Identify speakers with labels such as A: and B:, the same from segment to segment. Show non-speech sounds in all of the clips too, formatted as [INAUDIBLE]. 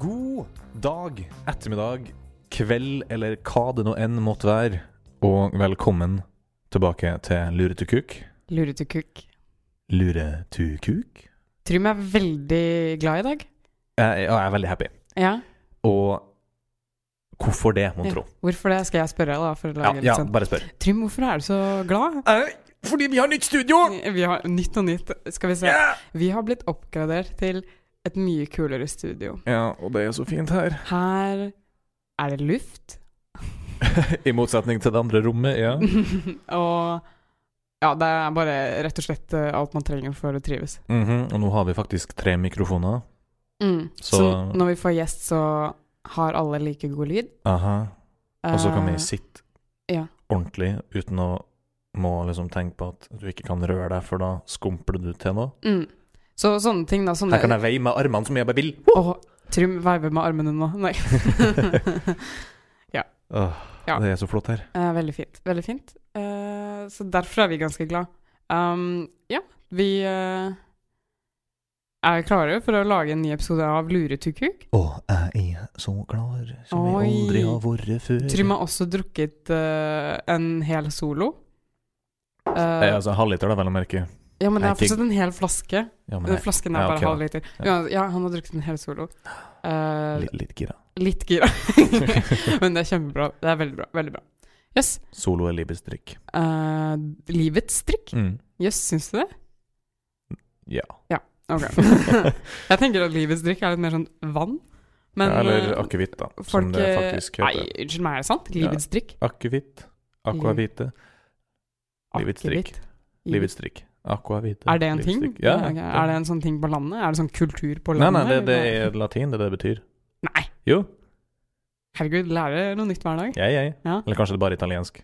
A: God dag, ettermiddag, kveld eller hva det nå enn måtte være. Og velkommen tilbake til Luretukuk.
B: Luretukuk.
A: Luretukuk?
B: Trym er veldig glad i dag.
A: Jeg, jeg er veldig happy.
B: Ja.
A: Og hvorfor det, mon
B: Ja.
A: tro?
B: Hvorfor det skal jeg spørre da, for å
A: Ja,
B: lage litt
A: ja,
B: sånn.
A: bare spør.
B: Trym, hvorfor er du så glad?
A: Fordi vi har nytt studio!
B: Vi har nytt og nytt. Skal vi se.
A: Ja!
B: Vi har blitt oppgradert til et mye kulere studio.
A: og det er så fint her.
B: Her er det luft.
A: [LAUGHS]
B: [LAUGHS]
A: I motsetning til det andre rommet, ja.
B: og ja, det er bare rett og slett eh, alt man trenger for å trives.
A: Mhm, Og nå har vi faktisk tre mikrofoner.
B: Så...
A: Så-
B: når vi får gjest, så har alle like god lyd.
A: Aha. Og så kan
B: Eh,
A: vi sitte
B: ja.
A: ordentlig uten å må liksom tenke på at du ikke kan røre deg, for da skumper du til noe.
B: mm. Så sånne ting, da. Sånne,
A: Her kan jeg veie med armene så mye jeg bare vil.
B: Åh, Trym veiver med armene nå. Nei. [LAUGHS]
A: Åh,
B: Ja.
A: Det er så flott her.
B: Eh, veldig fint. Veldig fint. Eh, så derfor er vi ganske glad. Um, ja, vi eh, er klare for å lage en ny episode av Luretukuk.
A: Og jeg er så klar
B: som jeg Oi. aldri har
A: vært før.
B: Trym har også drukket eh, en hel solo. Eh,
A: Det er altså halvliter, da, vel å merke.
B: ja, men det er
A: jeg tenk-
B: fortsatt en hel flaske.
A: Ja, men
B: Den
A: jeg
B: Flasken er
A: ja,
B: bare
A: ok da.
B: halv liter. Ja,
A: Ja.
B: ja, han har drukket en hel solo. Eh,
A: er litt, litt gira.
B: litt gira. [LAUGHS] men det er kjempebra. Det er veldig bra. Veldig bra. Yes.
A: Solo er livets drikk.
B: Eh, livets drikk?
A: Mm.
B: Jøss, syns du det?
A: Ja. [LAUGHS]
B: Ok. jeg tenker at livets drikk er litt mer sånn vann. Men
A: Ja, Eller
B: eh,
A: akevitt, da,
B: folk
A: som det faktisk
B: eh,
A: heter.
B: Nei, unnskyld meg, er det sant?
A: Ja.
B: Livets drikk?
A: Akevitt. Akvavite. Livets drikk. Livets drikk. Akvavite.
B: Er det en
A: livets
B: ting?
A: drikk. Ja,
B: ok. Er det en sånn ting på landet? Er det sånn kultur på
A: Nei,
B: landet?
A: nei, det, det
B: eller?
A: er latin, det er det det betyr.
B: Nei,
A: Jo,
B: herregud, lære noe nytt hver dag.
A: jeg, jeg.
B: Ja.
A: Eller kanskje det er bare italiensk.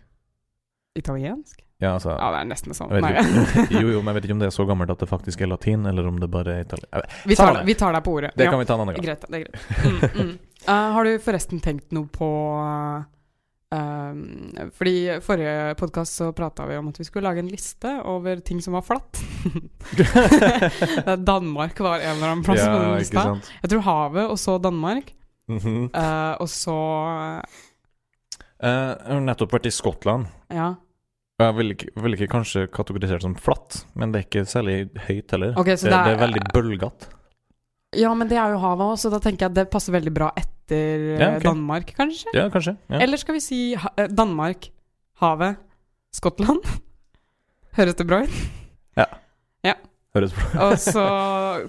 B: Italiensk?
A: Ja, altså.
B: Ja, det er nesten sånn.
A: Jeg
B: Nei.
A: vet Jo, jo, men jeg vet ikke [LAUGHS] om det er så gammelt at det faktisk er latin, eller om det bare er italiensk. Samme
B: vi, tar,
A: det.
B: vi tar deg på ordet.
A: Det
B: Ja,
A: kan vi ta en annen [LAUGHS] gang.
B: Greit, det er greit. Mm, mm. [LAUGHS] Eh, har du forresten tenkt noe på eh, eh, Fordi forrige podkast så prata vi om at vi skulle lage en liste over ting som var
A: [LAUGHS]
B: flatt. [LAUGHS] Der Danmark var en eller annen plass på
A: ja,
B: den
A: ikke
B: lista.
A: sant.
B: Jeg tror havet, og så Danmark.
A: Mhm.
B: eh, og så
A: Eh, jeg har nettopp vært i Skottland.
B: eh, Ja.
A: Og Jeg vil ikke, vil ikke kanskje kategorisert som flatt, men det er ikke særlig høyt heller.
B: Ok, så
A: det,
B: det er-
A: det er veldig bølgete.
B: ja, men det er jo havet òg, så da tenker jeg at det passer veldig bra etter eh,
A: Ja, ok.
B: Danmark, kanskje?
A: Ja, kanskje. Ja.
B: Eller skal vi si ha eh, Danmark, havet, Skottland? [LAUGHS] Høres det bra ut?
A: Høres bra
B: Og så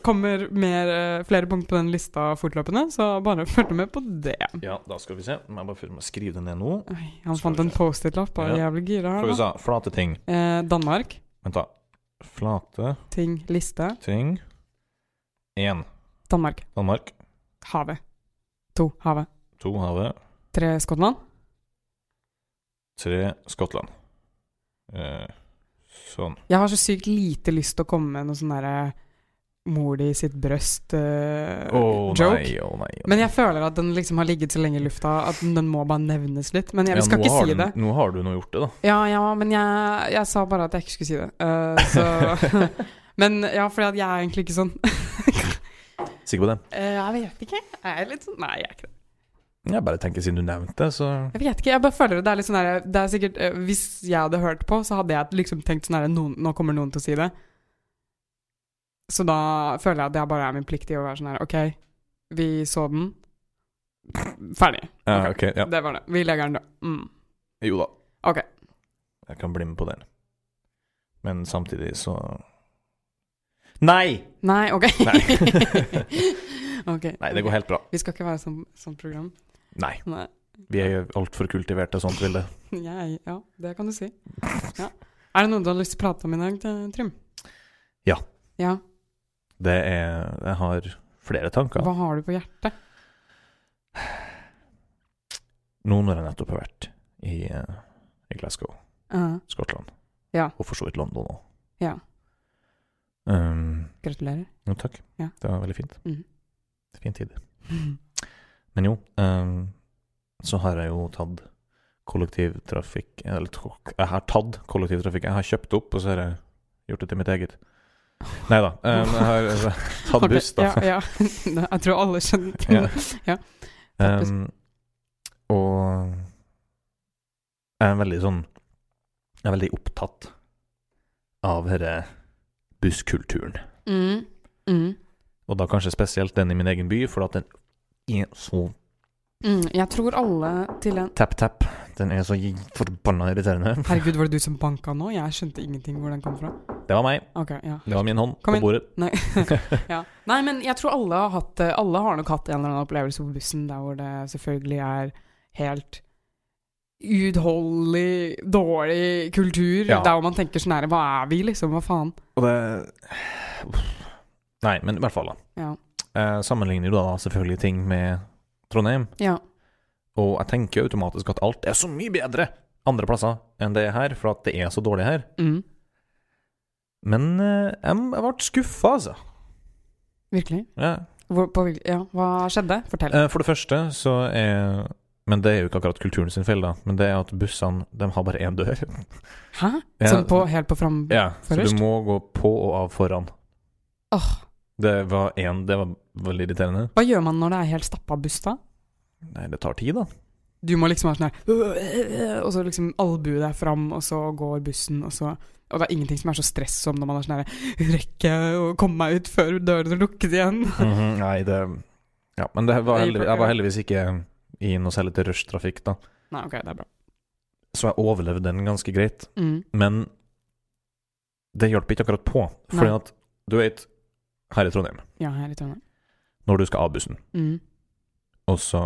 B: kommer mer, eh, flere punkt på den lista fortløpende, så bare følg med på det.
A: Ja, da skal vi se. Må jeg bare først må skrive det ned nå.
B: Oi,
A: Skal
B: han
A: vi
B: fant en
A: se.
B: Post-It-lapp og er jævlig
A: Skal
B: gira her.
A: vi
B: Da.
A: se. Flate ting.
B: Eh, Danmark,
A: Vent, da. Flate
B: ting, liste.
A: ting. Én.
B: Danmark,
A: Danmark.
B: havet. To, havet.
A: To. Havet.
B: Tre, Skottland.
A: Tre. Skottland. Eh, sånn.
B: Jeg har så sykt lite lyst til å komme med noe sånn derre mor di sitt brøst eh,
A: Å
B: joke.
A: nei, å nei. å
B: Men
A: nei.
B: jeg føler at den liksom har ligget så lenge i lufta at den må bare nevnes litt. Men jeg,
A: Ja,
B: vi skal
A: nå
B: ikke
A: har du-
B: si det.
A: Nå har du nå gjort det, da.
B: Ja, ja, men jeg, jeg sa bare at jeg ikke skulle si det. Eh, så [LAUGHS] Men ja, for jeg er egentlig ikke sånn.
A: Sikker på det?
B: Eh, jeg vet ikke. Jeg er litt sånn Nei, jeg er ikke det.
A: Jeg bare tenker siden du nevnte det, så
B: Jeg vet ikke, jeg bare føler det. Det er litt sånn der, det er sikkert eh, Hvis jeg hadde hørt på, så hadde jeg liksom tenkt sånn her noen, Nå kommer noen til å si det. Så da føler jeg at det bare er min plikt i å være sånn her OK, vi så den. Ferdig.
A: Ja,
B: Ok.
A: ok. ja.
B: Det var det. Vi legger den da. Mm.
A: Jo da.
B: Ok.
A: Jeg kan bli med på den. Men samtidig så Nei!
B: Nei, OK.
A: Nei.
B: [LAUGHS] Ok.
A: Nei, det går helt bra.
B: Vi skal ikke være sånn, sånn program.
A: Nei.
B: Nei.
A: Vi er jo altfor kultiverte, sånt vil det.
B: Jeg, [LAUGHS] ja, det kan du si. Ja. Er det noe du har lyst til å prate om i dag, eh, Trym?
A: Ja.
B: Ja,
A: Det er Jeg har flere tanker.
B: Hva har du på hjertet?
A: Nå når jeg nettopp har vært i, eh, i Glasgow,
B: Eh,
A: Skottland,
B: Ja.
A: og for så vidt London òg.
B: Ja.
A: Um,
B: gratulerer.
A: jo, takk.
B: Ja.
A: Det var veldig fint.
B: Mhm.
A: Fin tid. Men jo, ehm, så har jeg jo tatt kollektivtrafikk Eller tok- jeg har tatt kollektivtrafikk. Jeg har kjøpt opp, og så har jeg gjort det til mitt eget. Nei da. jeg har eh, tatt
B: [LAUGHS] Ok,
A: buss, da. [LAUGHS]
B: [LAUGHS] Ja, ja. Jeg tror alle skjønte
A: Ja.
B: Ja. Faktisk.
A: Um, og jeg er veldig sånn Jeg er veldig opptatt av denne busskulturen.
B: Mm. Mm.
A: Og da kanskje spesielt den i min egen by, for at den er så
B: Mm. Jeg tror alle til en
A: tapp-tapp. Den er så gi- forbanna irriterende.
B: Herregud, var det du som banka nå? Jeg skjønte ingenting hvor den kom fra.
A: Det var meg.
B: Ok, ja.
A: Det var min hånd
B: Kom
A: på
B: inn.
A: bordet.
B: Nei. ja. Nei, men jeg tror alle har, hatt, det- alle har nok hatt en eller annen opplevelse på bussen der hvor det selvfølgelig er helt uutholdelig dårlig kultur.
A: Ja.
B: Der hvor man tenker sånn her Hva er vi, liksom? Hva faen?
A: [LAUGHS] Og det Uff. Nei, men i hvert fall, da.
B: Ja.
A: Jeg sammenligner jo da selvfølgelig ting med Trondheim,
B: Ja.
A: og jeg tenker automatisk at alt er så mye bedre andre plasser enn det er her, for at det er så dårlig her.
B: Mm.
A: Men eh, jeg, jeg ble skuffa, altså.
B: Virkelig.
A: Ja.
B: Hvor, på, hvil- ja. Hva skjedde? Fortell.
A: Eh, For det første så er Men det er jo ikke akkurat kulturen sin feil, da. Men det er at bussene de har bare én
B: [LAUGHS]
A: dør.
B: Hæ?
A: Eh, Ja.
B: Sånn på, helt på fram...
A: Ja, så
B: Forrest.
A: du må gå på og av foran.
B: Åh.
A: Det var én Det var veldig irriterende.
B: Hva gjør man når det er helt stappa buss, da?
A: Nei, det tar
B: [LAUGHS]
A: tid, da.
B: Du må liksom ha sånn her Og så liksom albue deg fram, og så går bussen, og så Og det er ingenting som er så stress som når man er sånn her Rekker jeg å komme meg ut før dørene lukkes igjen?
A: Mhm, Nei, det Ja, men det var
B: Det gikk
A: heldigvis,
B: bra,
A: jeg var
B: ja.
A: heldigvis ikke i noe særlig til rushtrafikk, da.
B: Nei, ok, det er bra.
A: Så jeg overlevde den ganske greit.
B: Mm.
A: Men det hjalp ikke akkurat på. Fordi
B: Nei.
A: at, du vet, her i Trondheim,
B: Ja, her i Trondheim.
A: når du skal av bussen,
B: Mm.
A: og så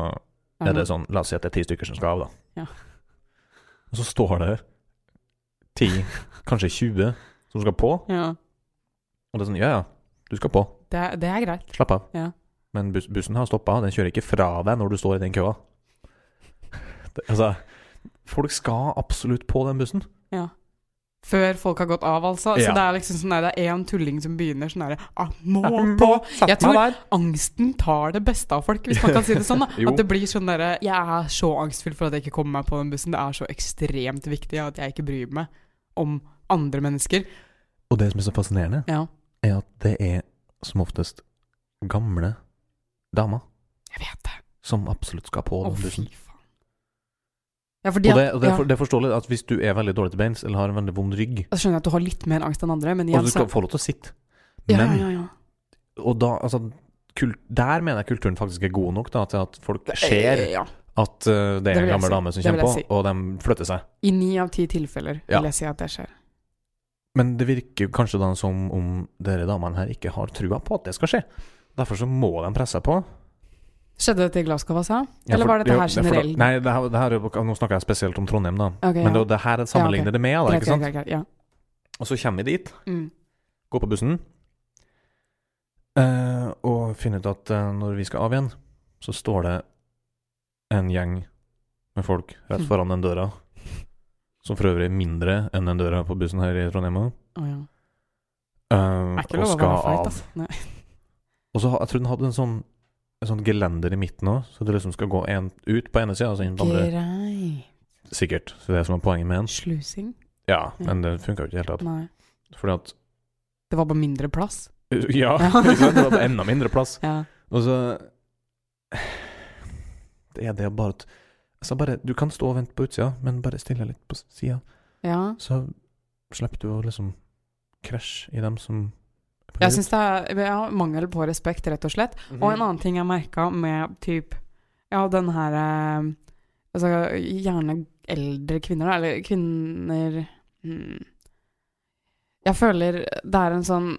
A: er det sånn La oss si at det er ti stykker som skal av, da.
B: Mhm. Ja.
A: Og så står det ti, kanskje 20, som skal på.
B: Ja.
A: Og det er sånn Ja, ja, du skal på.
B: Det er, det er greit.
A: Slapp av.
B: Ja.
A: Men bus bussen har stoppa. Den kjører ikke fra deg når du står i den køa. Det, altså Folk skal absolutt på den bussen.
B: Ja. Før folk har gått av, altså.
A: Ja.
B: Så det er liksom sånn her, det er én tulling som begynner sånn herre ah, Må
A: Jeg
B: på!
A: Sett
B: Jeg tror-
A: meg der.
B: Angsten tar det beste av folk, hvis man kan si det
A: [LAUGHS]
B: sånn. da
A: Jo.
B: At det blir sånn derre Jeg er så angstfull for at jeg ikke kommer meg på den bussen. Det er så ekstremt viktig at jeg ikke bryr meg om andre mennesker.
A: Og det som er så fascinerende,
B: Ja,
A: er at det er som oftest gamle damer
B: jeg vet det.
A: som absolutt skal på
B: Å,
A: den
B: fy
A: bussen.
B: faen. Ja, fordi
A: og det,
B: at-
A: og det, er
B: ja,
A: for, det er forståelig at hvis du er veldig dårlig til beins, eller har en veldig vond rygg,
B: Jeg skjønner at du har litt mer angst enn andre, men
A: og
B: igjen
A: du skal
B: så
A: få lov til å sitte
B: ja, ja,
A: Men
B: ja, ja.
A: Og da, altså kul- Der mener jeg kulturen faktisk er god nok, da, til at folk ser
B: Eh, Ja.
A: at eh, det er en
B: vil jeg
A: gammel
B: si.
A: dame som
B: Det vil
A: kommer på,
B: jeg
A: og de flytter seg.
B: I ni av ti tilfeller
A: Ja.
B: vil jeg si at det skjer.
A: Men det virker jo kanskje da som om dere damene her ikke har trua på at det skal skje. Derfor så må de presse på.
B: Skjedde dette i Glasgow, altså?
A: Ja,
B: Eller
A: for-
B: var dette
A: ja,
B: her
A: det er for-
B: generell?
A: Nei, det her, det her, er jo- nå snakker jeg spesielt om Trondheim, da.
B: Ok,
A: Men
B: ja.
A: det, det her er sammenligner det med, da,
B: Greit,
A: ikke sant?
B: greit, greit, greit, ja.
A: Og så kommer vi dit,
B: Mm.
A: går på bussen, eh, og finner ut at eh, når vi skal av igjen, så står det en gjeng med folk rett
B: Mm.
A: foran den døra, som for øvrig er mindre enn den døra på bussen her i Trondheim òg,
B: Å,
A: eh,
B: ja. Det er ikke
A: og
B: lov å
A: skal
B: være
A: av.
B: feit, altså. Nei.
A: Og så ha- jeg tror den hadde en sånn en sånn gelender i midten òg, så du liksom skal gå en, ut på ene sida og så inn på andre.
B: Grei.
A: Sikkert. Så det er som er poenget med den.
B: Slusing?
A: Ja, men det funka jo ikke i det hele tatt.
B: Nei.
A: Fordi at [LAUGHS]
B: Det var bare mindre plass.
A: Ja, ikke sant? det var enda mindre plass.
B: Ja.
A: Og så [SIGHS] Det er det bare at altså bare, Du kan stå og vente på utsida, men bare stille litt på sida,
B: ja.
A: så slipper du å liksom krasje i dem som er på
B: Jeg
A: vei ut.
B: syns det er ja, mangel på respekt, rett og slett. Og
A: Mm.
B: en annen ting jeg merka med typ Ja, den her eh, Altså gjerne eldre kvinner, da, eller kvinner mm. Jeg føler det er en sånn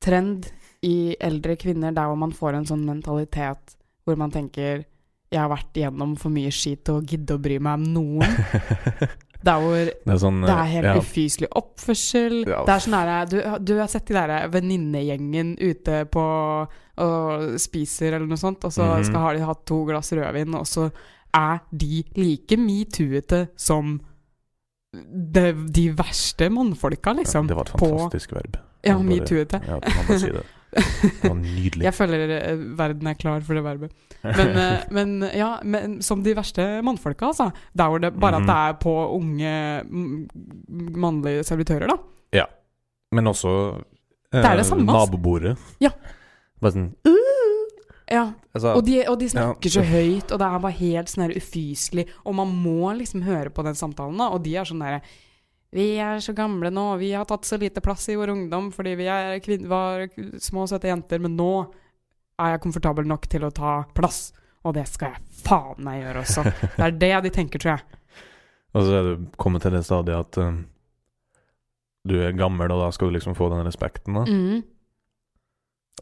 B: trend i eldre kvinner der hvor man får en sånn mentalitet hvor man tenker jeg har vært igjennom for mye skit til å gidde å bry meg om
A: [LAUGHS]
B: noen. Der hvor
A: [LAUGHS] Det er sånn
B: Det er helt
A: ja,
B: ufyselig oppførsel.
A: Ja.
B: Det er sånn her, du, du har sett de der venninnegjengen ute på og spiser eller noe sånt, og så
A: Mhm.
B: skal, har de hatt to glass rødvin, og så er de like metoo-ete som de, de verste mannfolka, liksom.
A: Det var et
B: på-
A: fantastisk verb.
B: Ja,
A: bare-
B: metoo-ete.
A: Ja, man må si det. Det var nydelig.
B: Jeg føler eh, verden er klar for det verbet. Men,
A: [LAUGHS]
B: eh, men ja, men som de verste mannfolka, altså. Der hvor det bare at
A: Mhm.
B: det er på unge mm, mannlige servitører, da.
A: Men også eh,
B: er det samme, altså.
A: nabobordet.
B: Ja.
A: Bare sånn
B: Ja,
A: Altså,
B: og de, og de
A: Ja.
B: snakker så høyt, og det er bare helt sånn her ufyselig. Og man må liksom høre på den samtalen, da. Og de er sånn derre Vi er så gamle nå, vi har tatt så lite plass i vår ungdom fordi vi er kvin var små, søte jenter, men nå er jeg komfortabel nok til å ta plass. Og det skal jeg faen meg gjøre også. Det er det de tenker, tror jeg.
A: og så er du kommet til det stadiet at eh, du er gammel, og da skal du liksom få den respekten, da.
B: Mm,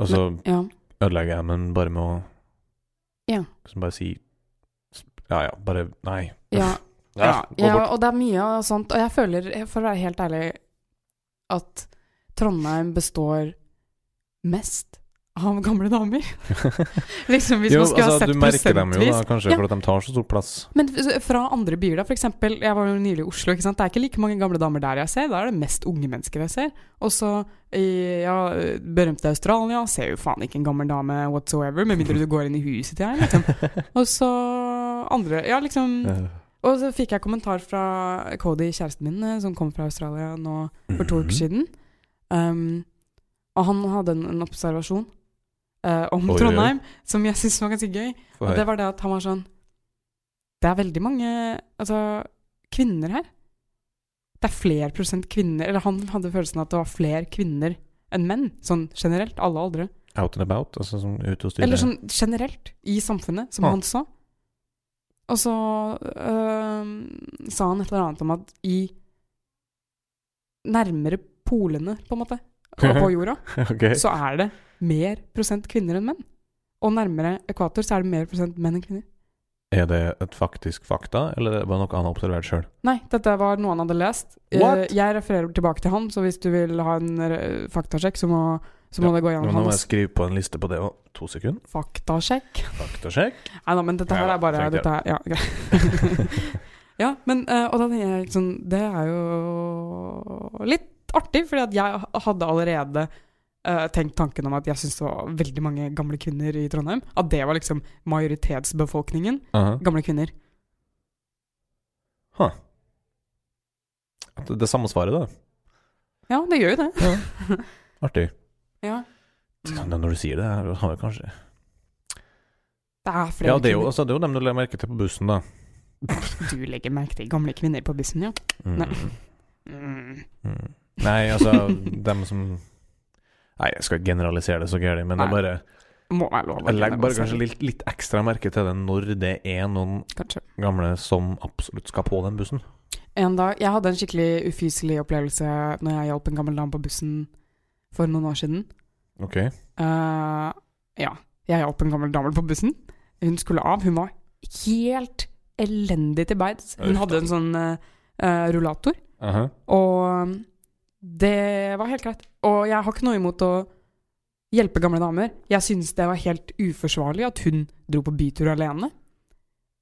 A: Og så
B: ja.
A: ødelegger jeg men bare med å
B: Ja.
A: Liksom bare si Ja ja, bare Nei.
B: ja.
A: [LAUGHS]
B: Ja,
A: gå
B: ja,
A: bort.
B: og det er mye av sånt. Og jeg føler, for å være helt ærlig, at Trondheim består mest av gamle
A: [LAUGHS]
B: damer. liksom hvis
A: jo,
B: man skulle
A: altså,
B: ha sett
A: du merker dem jo, da,
B: prosentvis.
A: kanskje,
B: Ja.
A: for at de tar så stor plass.
B: Men f- fra andre byer, da, f.eks. Jeg var jo nylig i Oslo. ikke sant? Det er ikke like mange gamle damer der jeg ser. Da er det mest unge mennesker jeg ser. Og så i ja, berømte Australia ser jo faen ikke en gammel dame whatsoever, med mindre du går inn i huset til
A: [LAUGHS]
B: henne. Liksom. Og så andre Ja, liksom
A: Eh,
B: og så fikk jeg kommentar fra Cody, kjæresten min, eh, som kom fra Australia nå for to
A: mhm.
B: uker siden. Um, og han hadde en, en observasjon eh, om
A: Oi, oi, oi.
B: Trondheim som jeg syntes var ganske gøy.
A: Få
B: Og
A: høre.
B: det var det at han var sånn Det er veldig mange altså, kvinner her. Det er flere prosent kvinner Eller han hadde følelsen av at det var flere kvinner enn menn, sånn generelt. Alle aldre.
A: Out and about, altså sånn ute og styre.
B: Eller sånn generelt i samfunnet, som
A: Ah.
B: han så. Og så øhm, sa han et eller annet om at i Nærmere polene, på en måte,
A: [LAUGHS]
B: og på jorda,
A: [LAUGHS] Ok.
B: så er det mer prosent kvinner enn menn. Og nærmere ekvator så er det mer prosent menn enn kvinner.
A: Er det et faktisk fakta, eller var det noe han har observert sjøl?
B: Nei, dette var noe han hadde lest. Eh,
A: What?
B: Jeg refererer tilbake til han, så hvis du vil ha en eh, faktasjekk, så må, så må
A: Ja,
B: det gå
A: Nå
B: gjennom
A: må jeg
B: hans
A: skrive på en liste på det òg. To sekunder.
B: faktasjekk.
A: Faktasjekk.
B: Nei da, men dette her
A: Ja,
B: er bare
A: tenk det.
B: dette her, ja, greit. [LAUGHS] ja, men eh, Og da tenker jeg sånn Det er jo litt artig, fordi at jeg hadde allerede eh, tenkt tanken om at jeg syntes det var veldig mange gamle kvinner i Trondheim. At det var liksom majoritetsbefolkningen.
A: Aha.
B: Gamle kvinner.
A: At Det, det samme svaret, da.
B: Ja, det gjør jo det.
A: Artig.
B: Ja. Mm.
A: Men Når du sier det, her, har jeg kanskje
B: Det er flere
A: Ja, det er, jo,
B: kvinner.
A: altså, det er jo dem du legger merke til på bussen, da.
B: Du legger merke til gamle kvinner på bussen, ja.
A: Mm.
B: Nei. Mm.
A: Mm. Nei, altså dem som Nei, jeg skal ikke generalisere det så gærent, men det er
B: Nei.
A: bare
B: Må være lov. å
A: Jeg legger bare kanskje
B: generalisere.
A: litt, litt ekstra merke til det når det er noen
B: Kanskje.
A: gamle som absolutt skal på den bussen.
B: En dag, Jeg hadde en skikkelig ufyselig opplevelse når jeg hjalp en gammel dame på bussen for noen år siden.
A: Ok.
B: Eh, ja, jeg hjalp en gammel dame på bussen. Hun skulle av. Hun var helt elendig til beids. Hun
A: Uff da.
B: hadde en sånn eh, eh, rullator, og det var helt greit. Og jeg har ikke noe imot å hjelpe gamle damer. Jeg synes det var helt uforsvarlig at hun dro på bytur alene.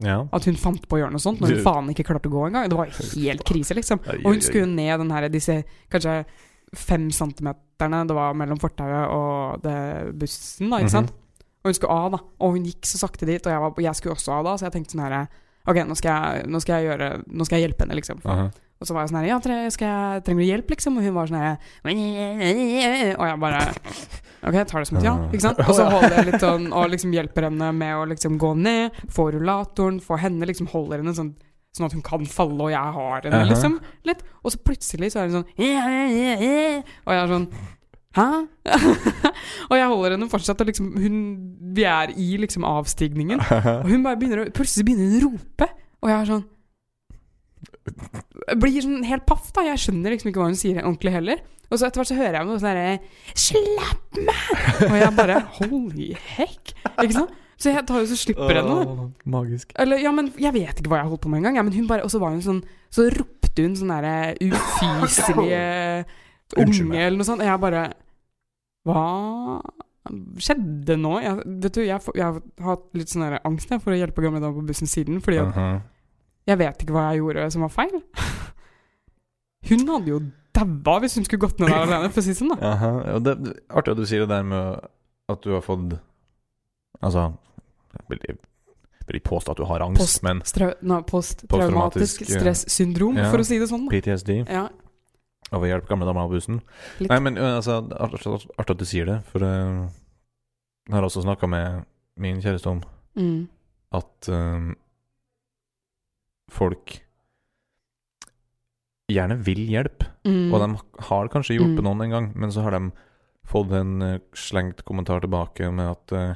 A: Ja.
B: At hun fant på å gjøre noe sånt når hun
A: Du-
B: faen ikke klarte å gå engang. Det var helt krise, liksom.
A: Ai,
B: Og
A: ai,
B: hun skulle ned den her, disse kanskje fem centimeterne det var mellom fortauet og det bussen, da,
A: Mhm.
B: ikke sant. Og hun skulle av, da. Og hun gikk så sakte dit, og jeg, var, og jeg skulle også av da, så jeg tenkte sånn her Ok, nå skal jeg, nå skal jeg, gjøre, nå skal jeg hjelpe henne, liksom.
A: Aha.
B: Og så var jeg sånn her Ja, tre, skal jeg, trenger du hjelp, liksom? Og hun var sånn her Og jeg bare Ok, jeg tar det som et ja, ikke sant? Og så holder jeg litt sånn og liksom hjelper henne med å liksom gå ned, få rullatoren, få henne, liksom holder henne sånn Sånn at hun kan falle, og jeg har henne,
A: Aha.
B: liksom. Litt. Og så plutselig så er hun sånn Og jeg er sånn Hæ? [LAUGHS] og jeg holder henne fortsatt, og liksom hun Vi er i liksom avstigningen. Og hun bare begynner å Plutselig begynner hun å rope, og jeg er sånn jeg blir sånn helt paff, da. Jeg skjønner liksom ikke hva hun sier ordentlig heller. Og så etter hvert så hører jeg noe sånn herre Slapp meg! Og jeg bare Holy heck! Ikke sant? Så jeg tar jo så slipper henne. da.
A: Åh, Magisk.
B: Eller, ja, men jeg vet ikke hva jeg holdt på med engang. Ja, men hun bare Og så var hun sånn Så ropte hun sånn derre ufyselige
A: [LAUGHS]
B: unge
A: Unnskyld meg.
B: eller noe sånt. Og jeg bare Hva skjedde nå? Jeg, vet du, jeg, får- jeg har hatt litt sånn der angst jeg, for å hjelpe gamle damer på bussen siden, fordi at
A: Aha.
B: jeg vet ikke hva jeg gjorde som var feil. [LAUGHS] Hun hadde jo daua hvis hun skulle gått ned der alene, for å si det sånn, da.
A: Aha. Og det det er artig at du sier det der med at du har fått Altså Jeg vil- jeg vil ikke påstå at du har angst,
B: Post-
A: men
B: Strau no, Posttraumatisk
A: Posttraumatisk, ja.
B: stressyndrom,
A: Ja.
B: for å si det sånn. Da.
A: PTSD
B: Ja,
A: av å hjelpe gamle damer på bussen.
B: Litt.
A: Nei, men ø, altså, det er artig, artig at du sier det, for ø, jeg har også snakka med min kjæreste om,
B: Mm.
A: at eh, folk gjerne vil hjelp.
B: Mm.
A: Og de har kanskje hjulpet
B: Mm.
A: noen en gang, men så har de fått en eh, slengt kommentar tilbake med at eh,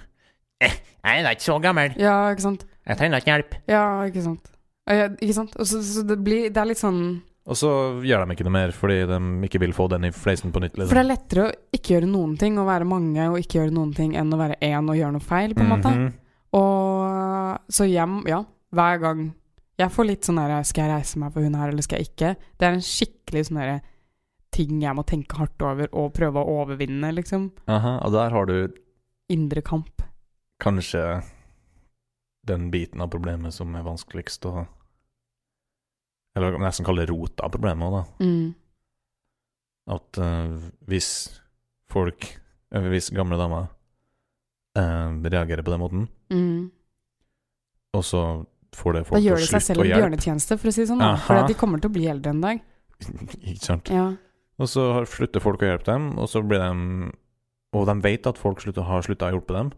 A: eh, Jeg er ikke så gammel.
B: Ja, ikke sant.
A: Jeg trenger ikke hjelp.
B: Ja, ikke sant. Ja, ja, ikke sant? Og så, så det, blir, det er litt sånn
A: Og så gjør de ikke noe mer fordi de ikke vil få den i fleisen på nytt.
B: For det
A: Liksom.
B: er lettere å ikke gjøre noen ting, å være mange og ikke gjøre noen ting, enn å være én og gjøre noe feil, på en måte.
A: Mhm.
B: Og så hjem, ja, hver gang Jeg får litt sånn der Skal jeg reise meg for hun her, eller skal jeg ikke? Det er en skikkelig sånn der ting jeg må tenke hardt over og prøve å overvinne, liksom.
A: Aha, og der har du
B: Indre kamp.
A: kanskje den biten av problemet som er vanskeligst å Eller jeg kan nesten kalle det rota av problemet òg, da.
B: Mm.
A: at eh, hvis folk, eh, hvis gamle damer eh, reagerer på den måten,
B: Mm.
A: og så får det
B: Da
A: folk til å
B: gjør de seg
A: slutte
B: selv
A: å
B: en
A: hjelpe
B: bjørnetjeneste, for å si det sånn. da.
A: Aha.
B: For at de kommer til å bli eldre en dag.
A: [LAUGHS] Ikke sant?
B: Ja.
A: Og så har- slutter folk å hjelpe dem, og så blir de Og de vet at folk slutter, har slutta å hjelpe dem,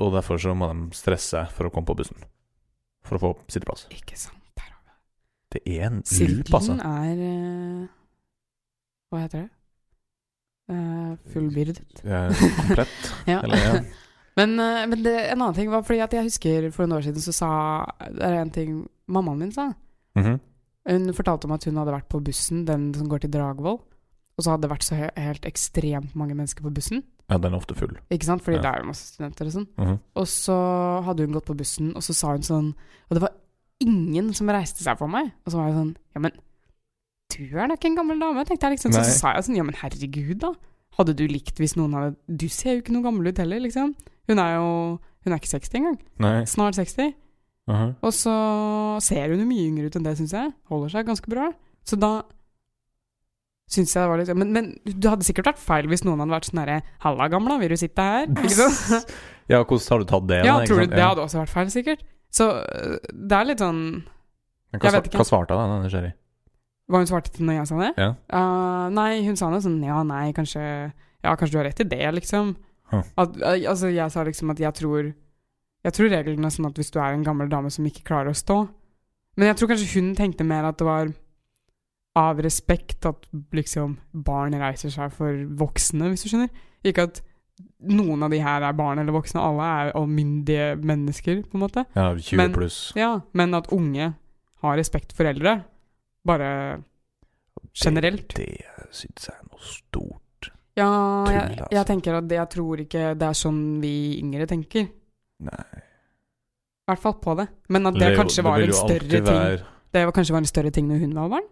A: og derfor så må de stresse for å komme på bussen. For å få sitteplass.
B: Ikke sant. Der har vi det.
A: Det er en loop, altså.
B: Sirkelen er eh, Hva heter det? Eh, fullbyrdet.
A: Eh, Komplett.
B: Ja.
A: Eller, [LAUGHS] ja.
B: Men, eh, men det, en annen ting var fordi at jeg husker for noen år siden så sa Det er en ting mammaen min sa.
A: Mhm.
B: Hun fortalte om at hun hadde vært på bussen, den som går til Dragvoll. Og så hadde det vært så he- helt ekstremt mange mennesker på bussen.
A: ja, den er ofte full.
B: Ikke sant? Fordi
A: Ja.
B: det er jo masse studenter og sånn.
A: Mhm.
B: Og så hadde hun gått på bussen, og så sa hun sånn Og det var ingen som reiste seg for meg. Og så var jeg sånn Ja, men du er da ikke en gammel dame, tenkte jeg liksom. Så,
A: Nei.
B: så sa jeg sånn Ja, men herregud, da. Hadde du likt hvis noen hadde Du ser jo ikke noe gammel ut heller, liksom. Hun er jo Hun er ikke 60 engang.
A: Nei.
B: Snart 60.
A: Mhm.
B: Og så ser hun jo mye yngre ut enn det, syns jeg. Holder seg ganske bra. Så da syns jeg det var litt men, men det hadde sikkert vært feil hvis noen hadde vært sånn herre Halla, gamla, vil du
A: [LAUGHS]
B: sitte her? Ikke sant?
A: Ja, hvordan har du tatt det?
B: ja,
A: da, ikke
B: tror
A: sant?
B: du det
A: Ja.
B: hadde også vært feil, sikkert? Så øh, det er litt sånn
A: Men
B: Jeg
A: hva,
B: vet
A: sva-
B: ikke.
A: hva svarte han? da, nysgjerrig?
B: Hva hun svarte til når jeg sa det?
A: Ja.
B: Eh, nei, hun sa noe sånn Ja, nei, kanskje Ja, kanskje du har rett i det, liksom.
A: Hm.
B: At, eh, altså, jeg sa liksom at jeg tror Jeg tror reglene er sånn at hvis du er en gammel dame som ikke klarer å stå Men jeg tror kanskje hun tenkte mer at det var av respekt at liksom barn reiser seg for voksne, hvis du skjønner. Ikke at noen av de her er barn eller voksne, alle er allmyndige mennesker, på en måte.
A: Ja, 20
B: Men-
A: pluss.
B: Ja, men at unge har respekt for eldre, bare generelt.
A: Det, det syns jeg er noe stort.
B: Ja,
A: Tull,
B: jeg,
A: altså.
B: jeg tenker at det, jeg tror ikke det er sånn vi yngre tenker.
A: Nei.
B: I hvert fall på det. Men at det, kanskje var en større ting Det var kanskje var en større ting når hun var barn.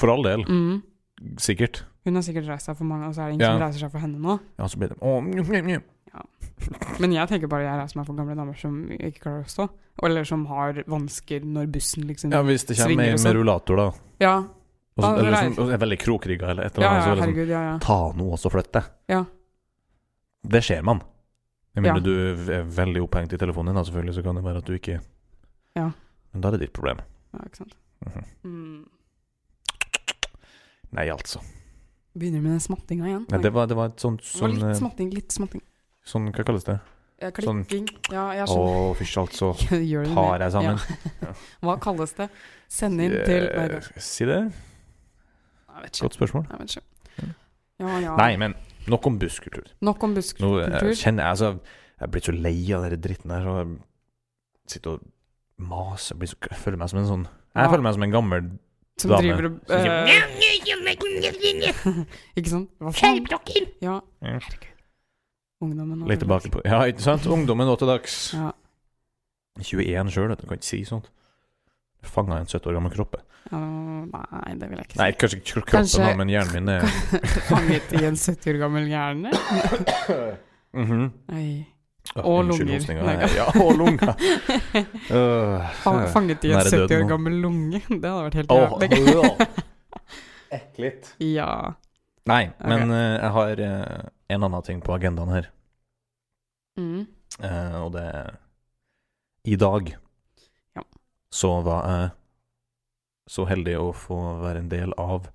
A: For all del,
B: Mm.
A: sikkert.
B: Hun har sikkert reist seg for mange, og så er det ingen
A: Ja.
B: som reiser seg for henne nå.
A: Ja, så blir det Å, mjau, mjau, mjau.
B: Men jeg tenker bare jeg reiser meg for gamle damer som ikke klarer å stå. Eller som har vansker når bussen liksom
A: Ja,
B: Ja,
A: hvis det
B: Svinger
A: kommer med,
B: og
A: med
B: sånn.
A: rullator, da.
B: ja,
A: Og så,
B: Ja, det
A: eller
B: er-
A: som og er veldig krokrygga eller et
B: ja,
A: eller annet. så er det sånn,
B: herregud, ja, ja.
A: Ta nå og så flytt deg.
B: Ja.
A: Det ser man. Med
B: Ja.
A: mindre du er veldig opphengt i telefonen din, da, selvfølgelig, så kan det være at du ikke
B: Ja.
A: Men da er det ditt problem.
B: ja ikke sant.
A: Mhm.
B: Mm.
A: Nei, altså.
B: Begynner med den smattinga igjen.
A: Nei, det, var, det var et sånt
B: Det var
A: sånn,
B: litt
A: eh,
B: smatting, litt smatting.
A: sånn Hva kalles det?
B: Ja,
A: sånn-
B: Klikking. Ja,
A: Å,
B: jeg skjønner.
A: fysj, altså.
B: [LAUGHS] Gjør det
A: Tar
B: mer.
A: jeg sammen?
B: Hva kalles det? Send inn til Nei, det-
A: Eh, Si det.
B: Nei, vet ikke.
A: Godt spørsmål.
B: Nei, vet ikke. Ja, ja.
A: Nei, men nok om busskultur.
B: Nok om
A: Nå eh,
B: busskultur.
A: kjenner jeg altså Jeg er blitt så lei av den dritten der, så jeg sitter og maser blir så, Jeg føler meg som en sånn Jeg
B: Ja.
A: føler meg som en gammel
B: Som
A: dame.
B: driver og
A: Som sier,
B: eh, Ikke sant? Hva faen? Ja.
A: Ja.
B: Herregud. Ungdommen nå
A: Litt
B: til
A: tilbake på Ja, ikke sant? Ungdommen nå til dags.
B: dags. Ja.
A: 21 sjøl, vet du. Kan ikke si sånt. Fanga en 70 år gammel kroppe.
B: Ja, nei, det vil jeg ikke si. [LAUGHS]
A: Nei, kanskje ikke kroppen,
B: Kanskje-
A: da, men hjernen min er
B: Fanget i en 70 år gammel hjerne.
A: [CLEARS THROAT] Mhm.
B: Nei.
A: Ja,
B: Og
A: unnskyld,
B: lunger.
A: hostinga.
B: Nei.
A: [LAUGHS] Ja, og
B: [LAUGHS]
A: lunger. Øh,
B: Fa- Fanget i en
A: Nære døden
B: 70 år
A: nå.
B: gammel lunge. Det hadde vært helt
A: åh,
B: jævlig. [LAUGHS]
A: øh. Ekkelt.
B: Ja.
A: Nei, men eh, jeg har eh, en annen ting på agendaen her,
B: Mm.
A: eh, og det er I dag
B: Ja.
A: så var jeg så heldig å få være en del av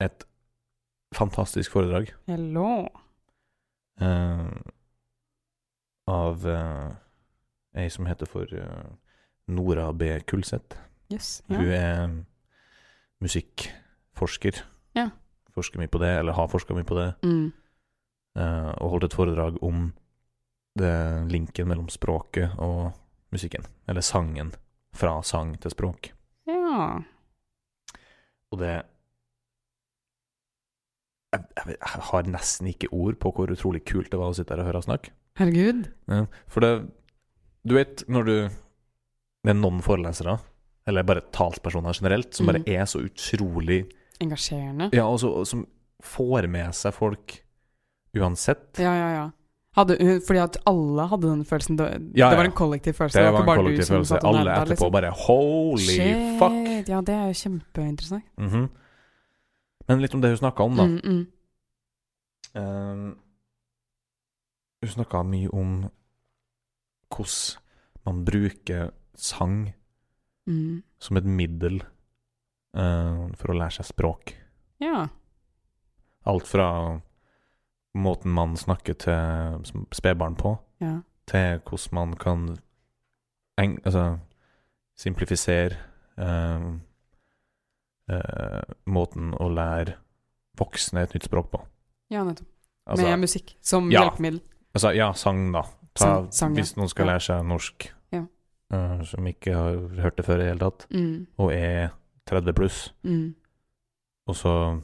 A: et fantastisk foredrag
B: Hello.
A: eh, av eh, ei som heter for eh, Nora B. Kulseth.
B: Yes,
A: Hun
B: ja.
A: er musikkforsker.
B: Ja.
A: Forsker mye på det, eller har forska mye på det,
B: Mm.
A: eh, og holdt et foredrag om det, linken mellom språket og musikken. Eller sangen. Fra sang til språk.
B: ja.
A: Og det jeg, jeg, vet- jeg har nesten ikke ord på hvor utrolig kult det var å sitte her og høre henne snakke.
B: Herregud.
A: Ja, For det Du vet når du Det er noen forelesere, eller bare talspersoner generelt, som bare
B: Mhm.
A: er så utrolig
B: Engasjerende.
A: Ja, og så- og som får med seg folk uansett.
B: Ja, ja, ja. Hadde, hun- fordi at alle hadde den følelsen. Det,
A: Ja,
B: det var
A: ja.
B: en kollektiv følelse.
A: Det var en
B: ikke bare du
A: kollektiv
B: som
A: følelse.
B: satt og
A: Alle
B: nerda,
A: etterpå
B: liksom.
A: bare Holy
B: Shit.
A: fuck!
B: Ja, det er jo kjempeinteressant.
A: Mhm. Men litt om det hun snakka om, Sånn da.
B: Mm, mm.
A: Um, hun snakka mye om hvordan man bruker sang
B: Mm.
A: som et middel eh, for å lære seg språk.
B: Ja.
A: Alt fra måten man snakker til sm- spedbarn på,
B: ja.
A: til hvordan man kan eng altså, simplifisere eh, eh, måten å lære voksne et nytt språk på.
B: Ja, nettopp.
A: Altså,
B: Med musikk som
A: Ja.
B: hjelpemiddel.
A: Altså, ja, sang, da. Ta,
B: Sang- sang, ja.
A: hvis noen skal
B: Ja.
A: lære seg norsk
B: Ja.
A: eh, som ikke har hørt det før i det hele tatt,
B: Mm,
A: og er 30 pluss,
B: mm.
A: og så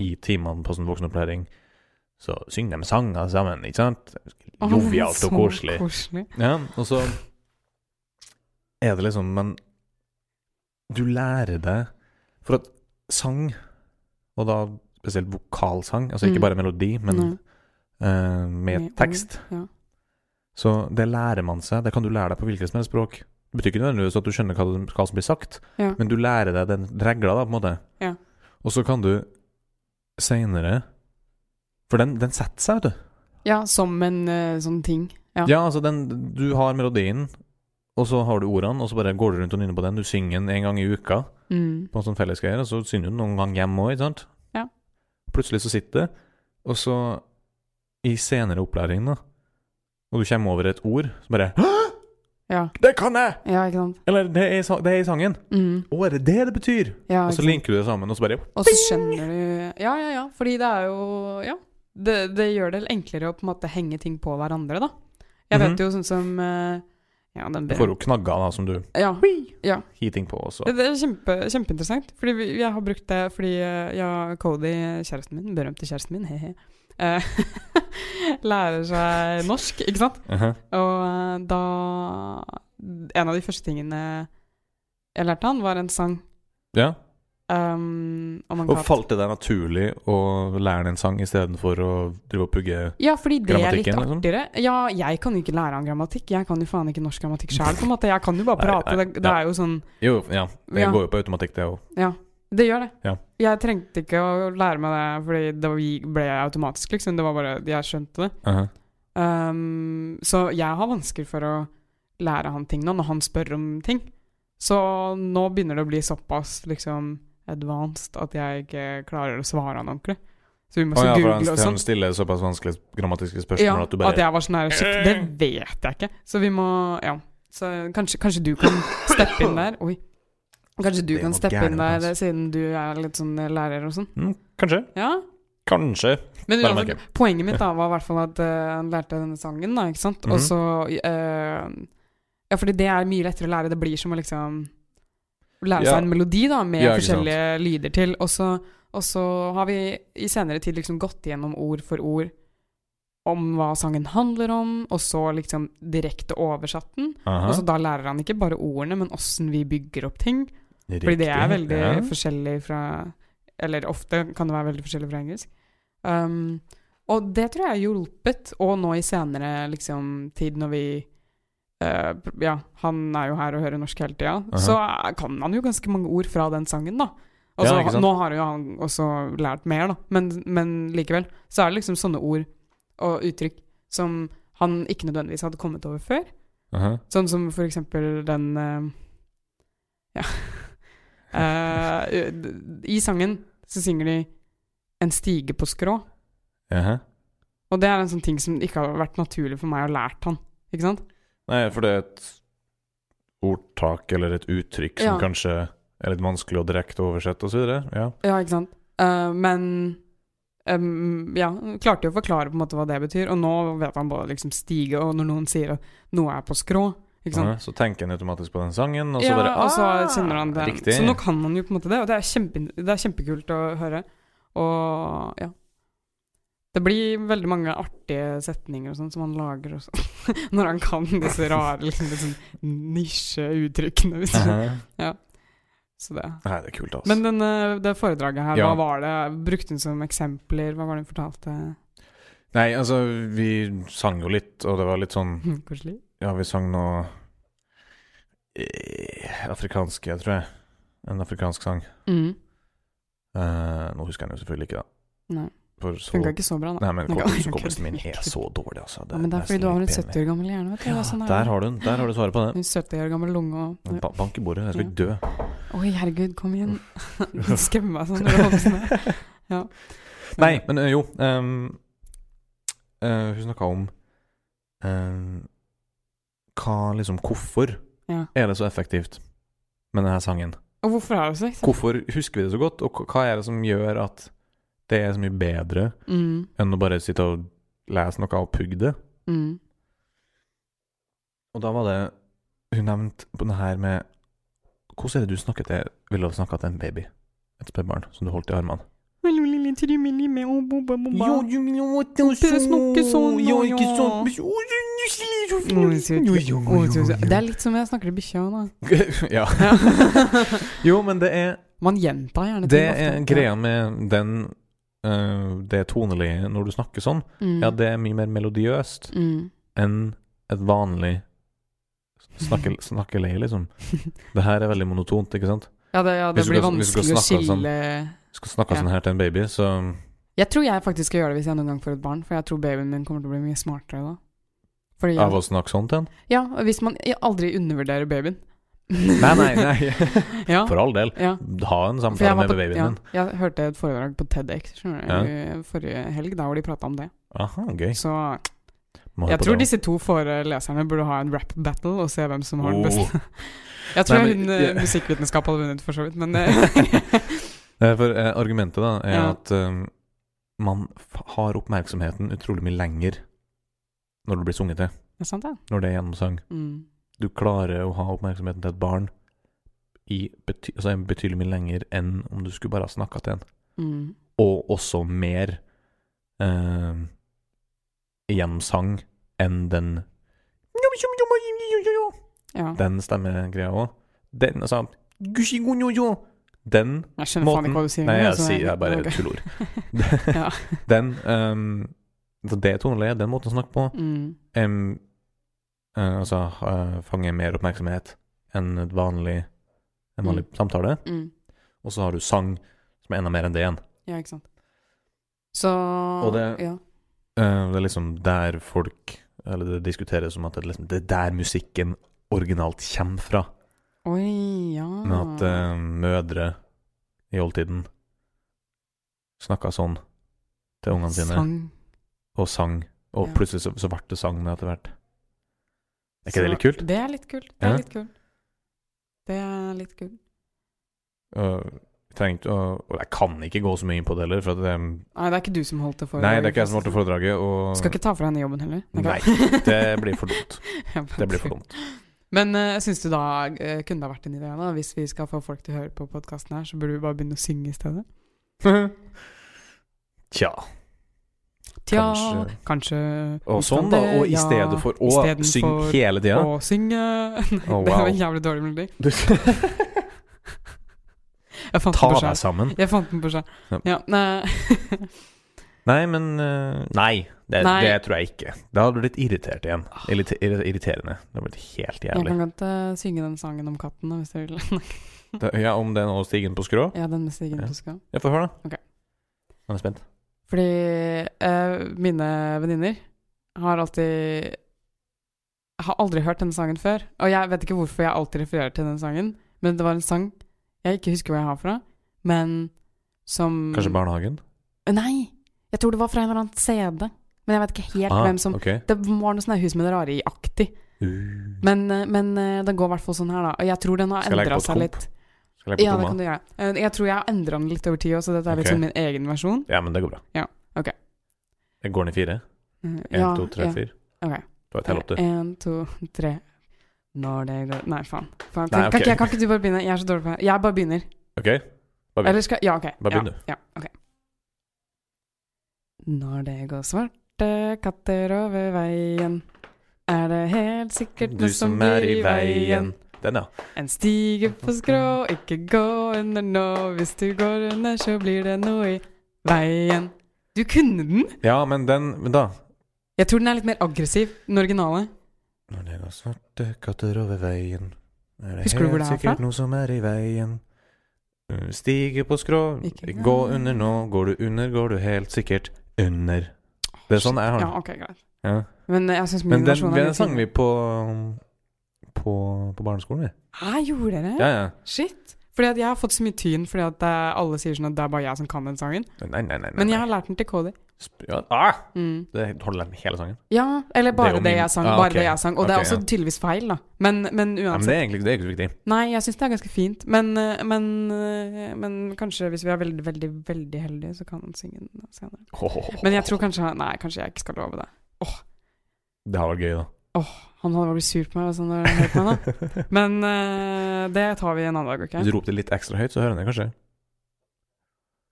A: i timene på sånn voksenopplæring så synger de sanger sammen, ikke sant?
B: Å,
A: Jovialt
B: så
A: og koselig.
B: koselig.
A: Ja, og så er det liksom Men du lærer deg For at sang, og da spesielt vokalsang, altså
B: Mm.
A: ikke bare melodi, men
B: Nei.
A: eh, med,
B: Med
A: tekst.
B: ord, ja.
A: Så det lærer man seg. Det kan du lære deg på hvilket som helst språk. Det betyr ikke nødvendigvis at du skjønner hva, det- hva som blir sagt,
B: Ja.
A: men du lærer deg den regla, da, på en måte.
B: Ja.
A: Og så kan du seinere For den, den setter seg, vet du.
B: ja, som en eh, sånn ting. Ja.
A: Ja, altså den Du har melodien, og så har du ordene, og så bare går du rundt og nynner på den. Du synger den en gang i uka
B: Mm.
A: på en sånn fellesgreier, og så synger du den noen gang hjemme òg, ikke sant?
B: Ja.
A: Plutselig så sitter det, og så i senere opplæring, da, og du kommer over et ord, så bare Hæ!
B: Ja.
A: Det kan jeg!
B: ja, ikke sant.
A: Eller det er, i sa- det er i sangen.
B: Mm.
A: Å, er det det det betyr?
B: Ja,
A: Og
B: ikke
A: så
B: sant.
A: linker du det sammen, og så bare
B: Og så skjønner du Ja, ja, ja. Fordi det er jo Ja. Det, det gjør det enklere å på en måte henge ting på hverandre, da. Jeg
A: Mhm.
B: vet jo sånn som eh, Ja, den
A: Du får jo knagger da, som du
B: Ja.
A: hiting på, og så
B: Det, det er kjempe, kjempeinteressant. Fordi vi, jeg har brukt det fordi eh, ja, Cody, kjæresten min, berømte kjæresten min, he-he, eh, [LAUGHS] lærer seg norsk, ikke sant?
A: Mhm.
B: Og eh, da En av de første tingene jeg lærte han, var en sang.
A: Ja.
B: Um, om en
A: Og
B: katt.
A: falt det deg naturlig å lære den en sang istedenfor å drive og pugge
B: Ja, fordi det er litt
A: Grammatikken, liksom?
B: artigere. Ja, jeg kan jo ikke lære han grammatikk. Jeg kan jo faen ikke norsk grammatikk sjøl, på en måte. Jeg kan jo bare
A: Nei,
B: prate.
A: nei,
B: det, det
A: ja.
B: er jo sånn
A: Jo, ja. Det
B: Ja.
A: går jo på automatikk, det òg.
B: Det gjør det.
A: Ja.
B: Jeg trengte ikke å lære meg det, fordi det var- ble automatisk, liksom. Det var bare Jeg skjønte det.
A: Uh-huh.
B: Um, så jeg har vansker for å lære han ting nå, når han spør om ting. Så nå begynner det å bli såpass liksom advanced at jeg ikke klarer å svare han ordentlig. Så vi må
A: Å
B: også
A: ja, for
B: google
A: han,
B: og
A: han
B: sånn.
A: stiller såpass vanskelige grammatiske spørsmål
B: Ja,
A: at du bare Eh.
B: at jeg var sånn her Shit, det vet jeg ikke. Så vi må Ja. Så kanskje, kanskje du kan steppe inn der. Oi. Kanskje du
A: Det
B: kan
A: var
B: steppe inn
A: gærent, altså.
B: der, eh, siden du er litt sånn eh, lærer og sånn.
A: mm, Kanskje.
B: Ja,
A: Kanskje.
B: men
A: Bare
B: uansett, poenget mitt da var i hvert fall at eh, han lærte denne sangen, da, ikke sant? Og
A: Mhm.
B: så eh, Ja, fordi det er mye lettere å lære. Det blir som å liksom lære
A: Ja.
B: seg en melodi, da, med
A: Ja, ikke sant.
B: forskjellige lyder til. Og så, og så har vi i senere tid liksom gått gjennom ord for ord om hva sangen handler om, og så liksom direkte oversatt den.
A: Aha.
B: Og så da lærer han ikke bare ordene, men åssen vi bygger opp ting. Fordi det er
A: Riktig,
B: veldig
A: ja.
B: forskjellig fra Eller ofte kan det være veldig forskjellig fra engelsk. Um, og det tror jeg har hjulpet, og nå i senere liksom, tid når vi eh, pr- Ja, han er jo her og hører norsk hele
A: Aha.
B: tida, så eh, kan han jo ganske mange ord fra den sangen, da. Og
A: Ja,
B: så-
A: ikke sant?
B: nå har jo han også lært mer, da, men, men likevel. Så er det liksom sånne ord og uttrykk som han ikke nødvendigvis hadde kommet over før.
A: Aha.
B: Sånn som for eksempel den eh, Ja. [LAUGHS] Eh,
A: Uh-huh.
B: d- I sangen så synger de 'En stige på skrå'.
A: Jaha.
B: Og det er en sånn ting som ikke har vært naturlig for meg å lært han. Ikke sant?
A: Nei, for det er et ordtak eller et uttrykk som
B: Ja.
A: kanskje er litt vanskelig å direkte oversette og så videre. Ja.
B: Ja, ikke sant? Eh, men em, ja, klarte jo å forklare på en måte hva det betyr, og nå vet han både liksom stige, og når noen sier at noe er på skrå, ikke sant?
A: Ja, Uh-huh. så tenker en automatisk på den sangen, og så
B: ja,
A: bare
B: og så
A: «Ah,
B: kjenner han det.
A: Riktig.
B: Så nå kan han jo på en måte det, og det er, kjempe, det er kjempekult å høre. Og ja. Det blir veldig mange artige setninger og sånn som han lager også. [LAUGHS] Når han kan disse rare liksom, litt sånn nisjeuttrykkene. Hvis du
A: [LAUGHS]
B: skjønner.
A: Aha.
B: så det.
A: Nei, det er kult, altså.
B: Men denne, det foredraget her,
A: Ja.
B: hva var det? Brukte hun som eksempler? Hva var det hun fortalte? [LAUGHS]
A: Nei, altså, vi sang jo litt, og det var litt sånn
B: Koselig.
A: Ja, vi sang noe eh, afrikansk, jeg tror jeg. En afrikansk sang.
B: Mm.
A: Eh, nå husker jeg den jo selvfølgelig ikke, da.
B: Nei.
A: For så
B: Funka ikke så bra, da.
A: Nei, men
B: [LAUGHS] Nei,
A: kom-
B: ok.
A: hukommelsen min er så dårlig, altså.
B: ja, men det er fordi
A: nesten
B: du har en
A: litt
B: 70
A: pinlig.
B: år gammel hjerne, vet du.
A: Ja,
B: Det er sånn
A: der har du den. Der har du svaret på det.
B: En 70 år gammel lunge og
A: Ba bank i bordet, jeg skal
B: [LAUGHS]
A: ikke dø.
B: Oi, herregud, kom igjen. [LAUGHS] Du skremmer meg sånn når du holder på sånn. her.
A: [LAUGHS] Nei, men eh, jo ehm, eh, Hun snakka om ehm, hva liksom Hvorfor
B: Ja.
A: er det så effektivt med denne sangen?
B: Og hvorfor er det så? ikke sant?
A: Hvorfor husker vi det så godt, og hva er det som gjør at det er så mye bedre
B: Mm,
A: enn å bare sitte og lese noe og pugge det?
B: mm,
A: Og da var det Hun nevnte på det her med Hvordan er det du snakker til Ville du snakke til en baby? Et spedbarn som du holdt i armene?
B: Jo,
A: du
B: Dere snakker sånn, og ja. Å, så- så- Det er litt som jeg snakker til bikkja òg,
A: Ja.
B: da.
A: Jo, men det er
B: [LAUGHS] Man gjentar gjerne ting
A: Det er
B: ofte.
A: greia med den eh, Det tonelige når du snakker sånn.
B: Mm,
A: Ja, det er mye mer melodiøst
B: mm. [LAUGHS]
A: enn et vanlig snakke, snakkeleie, liksom. Det her er veldig monotont, ikke sant?
B: Ja, det, ja, det
A: Hvis du
B: blir
A: skal- hvis du skal
B: vanskelig å
A: snakke sånn.
B: skille
A: Skal snakke
B: Ja.
A: sånn her til en baby, så
B: Jeg tror jeg faktisk skal gjøre det hvis jeg noen gang får et barn, for jeg tror babyen min kommer til å bli mye smartere da. Fordi,
A: Av å snakke sånn til en?
B: ja, og hvis man jeg aldri undervurderer babyen.
A: Nei, [LAUGHS] nei, nei.
B: [LAUGHS] ja.
A: For all del.
B: Ja.
A: Ha en
B: For jeg
A: samtale
B: var
A: med
B: på-
A: babyen
B: ja,
A: din.
B: Jeg hørte et foredrag på TEDX skjønner du, forrige helg, da hvor de prata om det.
A: Aha, gøy.
B: Så
A: Må høre
B: jeg
A: på
B: tror
A: det.
B: disse to foreleserne burde ha en rap battle og se hvem som har den beste.
A: Oh.
B: Jeg tror
A: Nei, men-
B: hun
A: jeg-
B: eh, musikkvitenskap hadde vunnet, for så vidt,
A: [LAUGHS]
B: men eh,
A: Eh, For eh, argumentet da er
B: Ja.
A: at eh, man f har oppmerksomheten utrolig mye lenger når du blir sunget til,
B: Det er sant, det.
A: når det er gjennom sang.
B: Mm.
A: Du klarer å ha oppmerksomheten til et barn i bety altså, en betydelig mye lenger enn om du skulle bare ha snakka til en.
B: Mm.
A: Og også mer eh, hjemsang enn den
B: Ja.
A: Den stemmegreia òg. Den altså Den
B: Jeg skjønner faen
A: måten-
B: ikke hva du sier.
A: Nei,
B: engang,
A: jeg
B: så-
A: sier jeg bare
B: Ok.
A: tullord.
B: [LAUGHS] Ja.
A: [LAUGHS] Den ehm, så Det toneleiet, den måten å snakke på,
B: Mm.
A: em, eh, altså eh, fanger mer oppmerksomhet enn et vanlig, en vanlig samtale.
B: Mm.
A: Og så har du sang, som er enda mer enn det igjen.
B: Ja, ikke sant. Så
A: det-
B: ja.
A: Eh, det er liksom der folk Eller det diskuteres om at det, er liksom, det er der musikken originalt kommer fra.
B: Oi, ja.
A: Men at eh, mødre i oldtiden snakka sånn til ungene sine.
B: Sang.
A: og sang. Og
B: Ja.
A: plutselig så, så ble det sang med etter hvert. Er ikke det litt kult?
B: Det er litt kult. Det er
A: Ja.
B: litt kult. Det er litt kult.
A: Og jeg trenger ikke å Og jeg kan ikke gå så mye inn på det heller, for at det
B: Nei, det er ikke du som holdt det for
A: Nei, det er ikke jeg som holdt foredraget, og
B: Skal ikke ta fra henne jobben heller.
A: Nei, det blir for
B: [LAUGHS]
A: dumt. Det blir for dumt.
B: Men eh, syns du da eh, kunne det ha vært en idé, da? Hvis vi skal få folk til å høre på podkasten her, så burde vi bare begynne å synge i stedet?
A: Tja.
B: Tja,
A: Kanskje.
B: kanskje
A: Og sånn, da. Og i stedet for å
B: isteden
A: synge
B: for
A: hele
B: ja.
A: tida
B: Å synge [LAUGHS] Nei,
A: Å,
B: det var
A: wow.
B: en jævlig dårlig melodi. Jeg
A: [LAUGHS]
B: fant
A: Ta
B: den på
A: deg
B: skjær.
A: sammen.
B: Jeg fant den på skjær.
A: Ja.
B: Ja, nei. [LAUGHS]
A: Nei, men eh, Nei, det,
B: Nei.
A: det tror jeg ikke. Da hadde du blitt irritert igjen. Irrite- irriterende. Det hadde blitt helt
B: Jeg
A: jævlig.
B: kan godt eh, synge den sangen om katten, da, hvis du vil. [LAUGHS]
A: Da- Ja, Om det er noe stigen på skrå?
B: Mhm. ja, den med Stigen
A: Ja.
B: Puska.
A: Ja, få høre, da.
B: Ok.
A: Nå er jeg spent.
B: Fordi eh, mine venninner har alltid Har aldri hørt denne sangen før. Og jeg vet ikke hvorfor jeg alltid refererer til den sangen, men det var en sang jeg ikke husker hvor jeg har fra, men som Mm.
A: Kanskje barnehagen?
B: Nei! Jeg tror det var fra en eller annen CD. Men jeg vet ikke helt
A: Ah,
B: hvem som
A: ok.
B: Det var noe sånn her hus med det rare i-aktig.
A: Uh,
B: Men, eh, men eh, den går i hvert fall sånn her, da. Og jeg tror den har
A: Skal jeg legge
B: endra
A: på et
B: seg
A: komp?
B: litt.
A: skal jeg legge
B: Ja,
A: på
B: det
A: komma?
B: kan du gjøre. Eh, Jeg tror jeg har endra den litt over tid òg, så dette er litt
A: Ok.
B: sånn min egen versjon.
A: Ja, men det går bra.
B: Ja, ok.
A: Jeg går ned fire.
B: Eh,
A: Én,
B: ja,
A: to, tre,
B: ja.
A: fire.
B: Ok.
A: Du har tell opp, du.
B: En, to, tre. Når det går Nei, faen. faen.
A: Nei,
B: kan, kan,
A: ok.
B: ikke, kan ikke du bare begynne? Jeg er så dårlig på det. Jeg bare begynner.
A: OK? Bare begynn.
B: Eller skal Ja, ok.
A: Bare
B: ja,
A: begynn, du.
B: Ja, ok. Når det går svarte katter over veien, er det helt sikkert
A: Du som er i veien. Den, ja.
B: En stige på skrå, ikke gå under nå. Hvis du går under, så blir det noe i veien. Du kunne den!
A: Ja, men den Men da
B: Jeg tror den er litt mer aggressiv den originale.
A: Når det går svarte katter over veien, er det
B: Husker du hvor
A: helt
B: det er fra?
A: sikkert noe som er i veien. Mm, Stige på skrå,
B: Ikke-
A: gå under nå. Går du under, går du helt sikkert under. Det er sånn jeg har
B: Ja,
A: den.
B: ok, greit.
A: Ja.
B: Men jeg syns min
A: Men den,
B: versjon er
A: den
B: mye
A: sang
B: finere.
A: vi på på, på barneskolen, vi.
B: Hæ, gjorde dere?
A: Ja, ja.
B: Shit. Fordi at jeg har fått så mye tyn fordi at eh, alle sier sånn at det er bare jeg som kan den sangen.
A: Nei, nei, nei. nei.
B: Men jeg har lært den til Cody.
A: Sp- ja. ah,
B: Mm.
A: det Holder den hele sangen?
B: Ja, eller
A: Det er
B: bare
A: jo
B: det,
A: min-
B: jeg sang.
A: Ah,
B: bare
A: ok.
B: det jeg sang. Og det er
A: Ok,
B: også
A: ja.
B: tydeligvis feil, da. Men, men
A: Ja, men
B: uansett.
A: det er egentlig det er ikke så viktig.
B: Nei, jeg syns det er ganske fint. Men, eh, men, eh, men kanskje hvis vi er veldig, veldig veldig heldige, så kan han synge den senere. [LAUGHS] Men jeg tror kanskje han- Nei, kanskje jeg ikke skal love det.
A: Det har vært gøy, da.
B: Han hadde blitt sur på meg hvis han hadde hørt
A: [LAUGHS]
B: meg da. Men eh, det tar vi en annen dag,
A: Hvis
B: OK?
A: du ropte litt ekstra høyt, så hører han det kanskje?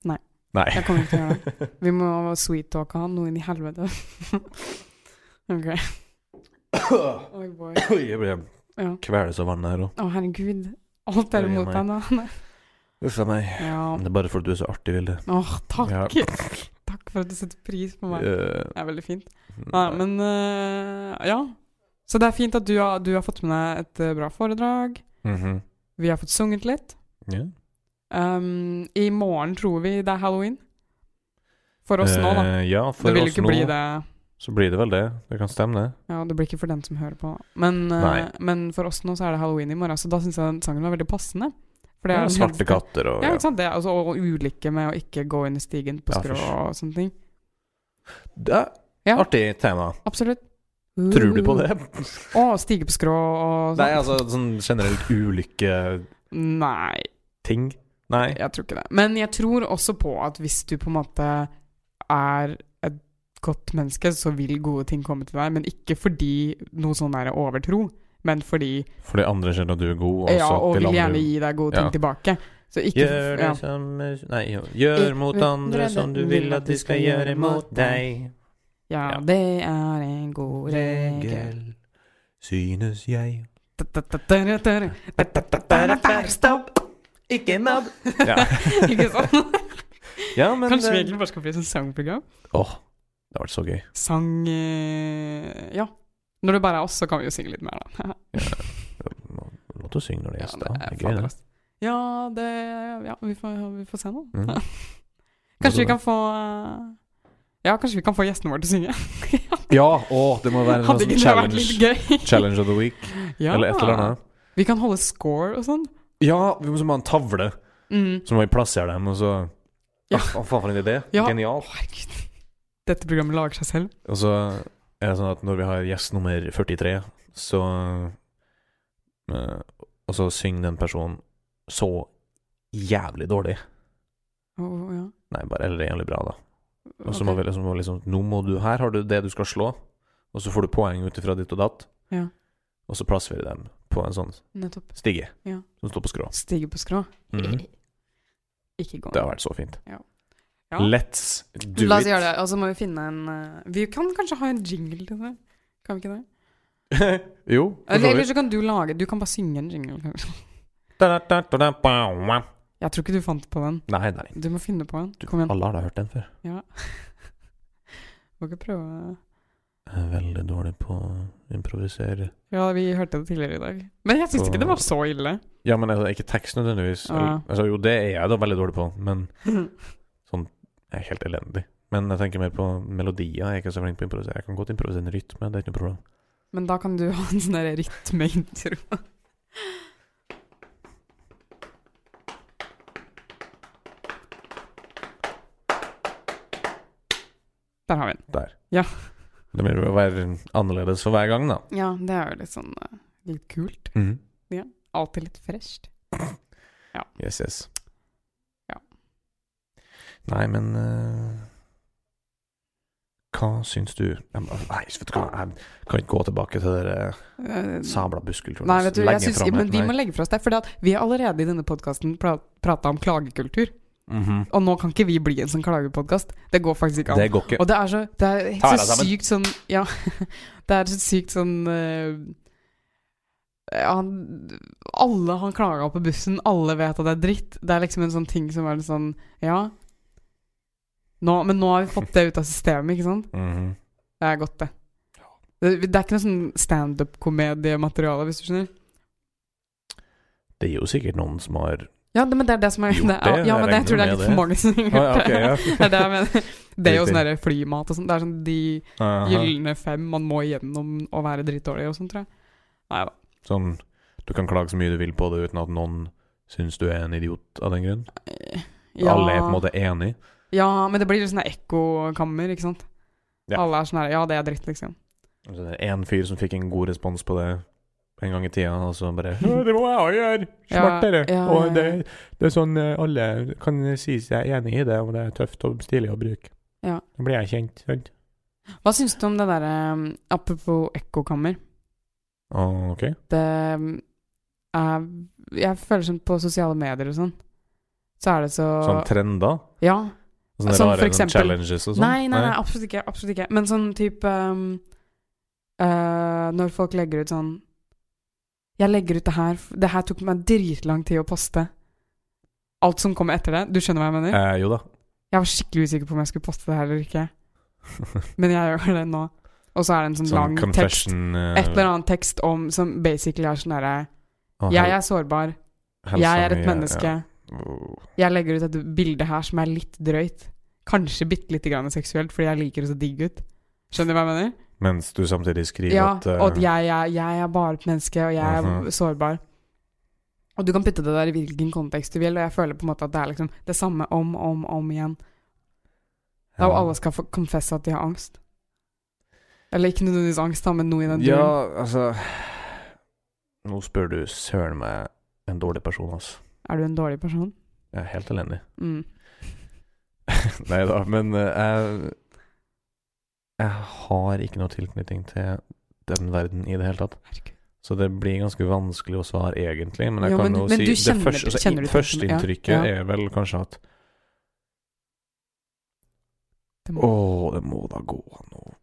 B: Nei.
A: Nei.
B: Jeg kommer ikke til å gjøre det. Vi må sweet-talke han noe inn i helvete. [LAUGHS] OK.
A: [LAUGHS]
B: Oi, boy.
A: Oi, jeg ble
B: Ja.
A: kveles av vannet her òg.
B: Å, herregud. Alt er
A: Oi,
B: imot
A: meg.
B: meg nå. [LAUGHS]
A: Uff a meg.
B: Ja.
A: Men Det er bare fordi du er så artig, Vilde.
B: Åh, takk.
A: Ja.
B: [LAUGHS] Takk for at du setter pris på meg.
A: Eh,
B: Det er veldig fint. Nei, men eh, ja. Så det er fint at du har, du har fått med deg et eh, bra foredrag.
A: Mhm.
B: Vi har fått sunget litt.
A: Ja.
B: Um, I morgen tror vi det er halloween. For oss nå, da.
A: Eh, ja, for
B: Det vil
A: oss
B: ikke
A: nå
B: bli det
A: så blir det vel det. Det kan stemme, det.
B: Ja, det blir ikke for den som hører på. Men, eh,
A: Nei.
B: men for oss nå så er det halloween i morgen, så da syns jeg den sangen var veldig passende. For det
A: Ja,
B: er den
A: svarte
B: eneste-
A: katter og
B: Ja,
A: ja.
B: ikke sant? Det, er altså, og ulykke med å ikke gå under stigen på
A: Ja,
B: skrå
A: for-
B: og sånne ting.
A: Det er
B: Ja.
A: Artig tema.
B: Absolutt.
A: Tror du på det?
B: [LAUGHS] Å, stige på skrå og sånn.
A: Nei, altså sånn generelt ulykketing.
B: Nei,
A: Nei.
B: jeg tror ikke det. Men jeg tror også på at hvis du på en måte er et godt menneske, så vil gode ting komme til deg. Men ikke fordi noe sånn er overtro, men fordi
A: Fordi andre skjønner at du er god, og
B: Ja,
A: så
B: og
A: vil
B: vil
A: andre
B: gjerne gi deg gode ting
A: Ja.
B: tilbake. Så ikke
A: Gjør det
B: ja.
A: som Nei, jo. gjør mot andre som du vil at de skal gjøre mot deg.
B: ja,
A: Ja.
B: det er en god regel.
A: Regel synes jeg.
B: Ta-ta-ta-ta-ta-ta.
A: Stopp! Ikke mobb! Ja.
B: Ikke sant?
A: ja, [LAUGHS] men
B: Kanskje vi
A: eh,
B: egentlig bare skal bli sånn sangprogram?
A: Åh, det har vært så gøy.
B: Sang eh, Ja. Når det bare er oss, så kan vi jo synge litt mer, da. [LAUGHS]
A: Lov til å synge når det er gjester.
B: det er
A: Det er gøy, det.
B: fabelaktig. Ja, det Ja, vi får, vi får se nå.
A: Mm.
B: [LAUGHS] Kanskje vi kan få eh, Ja, kanskje vi kan få gjestene våre til å synge.
A: Ja, åh, det må
B: [LAUGHS]
A: være en
B: Hadde
A: sånn
B: ikke det vært litt
A: challenge,
B: gøy?
A: [LAUGHS] challenge of the week,
B: Ja.
A: eller et eller annet.
B: Vi kan holde score og sånn.
A: Ja, vi må så ha en tavle,
B: Mm.
A: så må vi plassere dem, og så
B: Ja.
A: Ah, faen for en idé.
B: Ja.
A: Genial.
B: Å, herregud. Dette programmet lager seg selv.
A: Og så er det sånn at når vi har gjest nummer 43, så eh, Og så synger den personen så jævlig dårlig.
B: Å, ja.
A: Nei, bare eller jævlig bra, da. Og så
B: Ok.
A: må vi liksom, må vi liksom Nå må du Her har du det du skal slå, og så får du poeng ut ifra ditt og datt.
B: Ja.
A: Og så plasserer vi dem på en sånn
B: Nettopp.
A: stige
B: Ja.
A: som står på skrå.
B: Stige på skrå.
A: Mhm.
B: Ikke gå.
A: Det har vært så fint.
B: Ja. Ja.
A: Let's do
B: La oss
A: it.
B: gjøre det, og så må vi finne en eh, Vi kan kanskje ha en jingle til det? Kan vi ikke det?
A: [LAUGHS] jo, for
B: Eller,
A: så
B: eller
A: vidt.
B: så kan du lage Du kan bare synge en jingle. kanskje.
A: Da-da-da-da-da-ba-wa.
B: Jeg tror ikke du fant på den.
A: Nei, nei.
B: Du må finne på en. Kom igjen.
A: Alle har da hørt den før.
B: [LAUGHS] Må ikke prøve
A: Jeg er veldig dårlig på å improvisere.
B: Ja, vi hørte det tidligere i dag. Men jeg syns ikke det var så ille.
A: Ja, men altså, ikke tekst nødvendigvis.
B: Ja.
A: Eller- Altså, jo, det er jeg da veldig dårlig på,
B: [LAUGHS]
A: men sånn Jeg er helt elendig. Men jeg tenker mer på melodier. Jeg er ikke så flink på å improvisere. Jeg kan godt improvisere en rytme, det er ikke noe problem.
B: Men da kan du ha en sånn der rytmeintro. Der har vi den.
A: Der.
B: Ja.
A: Det blir jo å være annerledes for hver gang, da.
B: Ja, det er jo litt sånn eh, litt kult. Alltid litt fresht.
A: Yes, yes.
B: Ja.
A: Nei, men eh, Hva syns du Jeg må- Nei, vet du hva, jeg kan ikke gå tilbake til det der
B: Eh,
A: sabla buskeltronen.
B: Nei, vet du, jeg synes,
A: fra meg.
B: men vi
A: Nei.
B: må legge fra oss det. For vi har allerede i denne podkasten pra prata om klagekultur.
A: Mhm.
B: Og nå kan ikke vi bli en sånn klagepodkast. Det går faktisk ikke an.
A: Det går ikke.
B: Og det er så, det er
A: Ta deg
B: så
A: sammen.
B: sykt sånn Ja. [LAUGHS] Det er så sykt sånn eh, han, Alle han klaga på bussen, alle vet at det er dritt. Det er liksom en sånn ting som er litt sånn Ja. Nå, men nå har vi fått det ut av systemet, ikke sant?
A: Mhm.
B: Det er godt, det. Det, det er ikke noe sånn standup-komediemateriale, hvis du skjønner.
A: Det er jo sikkert noen som har
B: Ja, det, men det er det som er,
A: Gjort
B: det, er-
A: det,
B: Ja,
A: jeg
B: men det, jeg tror det
A: regner
B: er litt for mange som har
A: Å, ja,
B: gjort
A: ok, [LAUGHS] ja.
B: [LAUGHS] det. Det er det jeg mener. Det er jo
A: Riktig.
B: sånn der flymat og sånn. Det er sånn de
A: Aha.
B: gylne fem man må igjennom å være drittdårlig og sånn, tror jeg. Nei da.
A: Sånn Du kan klage så mye du vil på det uten at noen syns du er en idiot av den grunn.
B: Eh, Ja,
A: Alle er på en måte enig.
B: ja, men det blir litt sånn der ekkokammer, ikke sant.
A: Ja.
B: Alle er sånn her Ja, det er dritt, liksom.
A: Altså, det er én fyr som fikk en god respons på det en gang i tida, og så bare «Å, Det må jeg òg gjøre! Smartere!
B: Ja, ja,
A: Og
B: ja.
A: det, det er sånn eh, alle kan si seg enig i det, og det er tøft og stilig å bruke.
B: Ja.
A: Da blir jeg kjent, sant?
B: Hva syns du om det derre um, Apropos ekkokammer.
A: Å, Ah, ok.
B: Det um, er Jeg føler sånn på sosiale medier og sånn, så er det så
A: Sånn trender?
B: Ja.
A: Sånne
B: Sånn for
A: rare sånn
B: eksempel-
A: challenges og sånn?
B: Nei, nei, nei, absolutt ikke. Absolutt ikke. Men sånn type um, eh, Når folk legger ut sånn Jeg legger ut det her f- Det her tok meg dritlang tid å poste. Alt som kommer etter det. Du skjønner hva jeg mener?
A: Eh, jo da.
B: Jeg var skikkelig usikker på om jeg skulle poste det her eller ikke. Men jeg gjør det nå. Og så er det en sånn,
A: Sånn
B: lang tekst.
A: confession eh,
B: Et eller annet tekst om, som basically er sånn herre
A: å,
B: Jeg
A: hel-
B: er sårbar.
A: helsa
B: Jeg er
A: mi,
B: et
A: ja,
B: menneske.
A: ja. Wow.
B: Jeg legger ut et bilde her som er litt drøyt. Kanskje bitte lite grann seksuelt, fordi jeg liker å se digg ut. Skjønner du hva jeg mener?
A: Mens du samtidig skriver
B: Ja,
A: at eh,
B: og at jeg, jeg, jeg er bare et menneske, og jeg er
A: Mhm.
B: sårbar. Og du kan putte det der i hvilken kontekst du vil, og jeg føler på en måte at det er liksom det samme om og om, om igjen. Det er jo
A: eh, ja.
B: alle skal få confesse at de har angst. Eller ikke nødvendigvis angst, da, men noe i den
A: Ja,
B: duren.
A: altså Nå spør du søren meg en dårlig person, altså.
B: Er du en dårlig person?
A: Jeg er helt elendig. [LAUGHS]
B: Mm.
A: Nei da, men eh, jeg Jeg har ikke noe tilknytning til den verden i det hele tatt.
B: Herregud.
A: Så det blir ganske vanskelig å svare, egentlig. Men jeg
B: Jo,
A: kan
B: men-
A: jo
B: men
A: si
B: du
A: det
B: kjenner-
A: første, altså,
B: kjenner du til- ja,
A: Førsteinntrykket
B: ja.
A: er vel kanskje at
B: Det må-
A: Å, det må da gå an å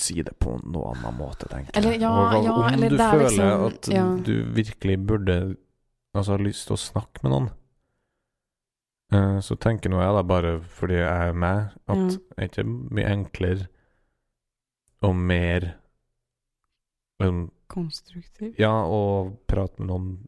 A: si det på noen annen måte, tenker
B: Eller,
A: jeg.
B: ja,
A: Og
B: ja,
A: om
B: eller
A: du
B: det er
A: føler
B: liksom-
A: at
B: ja.
A: du virkelig burde Altså har lyst til å snakke med noen, eh, så tenker nå jeg da, bare fordi jeg er meg, at
B: Ja.
A: er ikke mye enklere og mer um,
B: Konstruktiv.
A: Ja, å prate med noen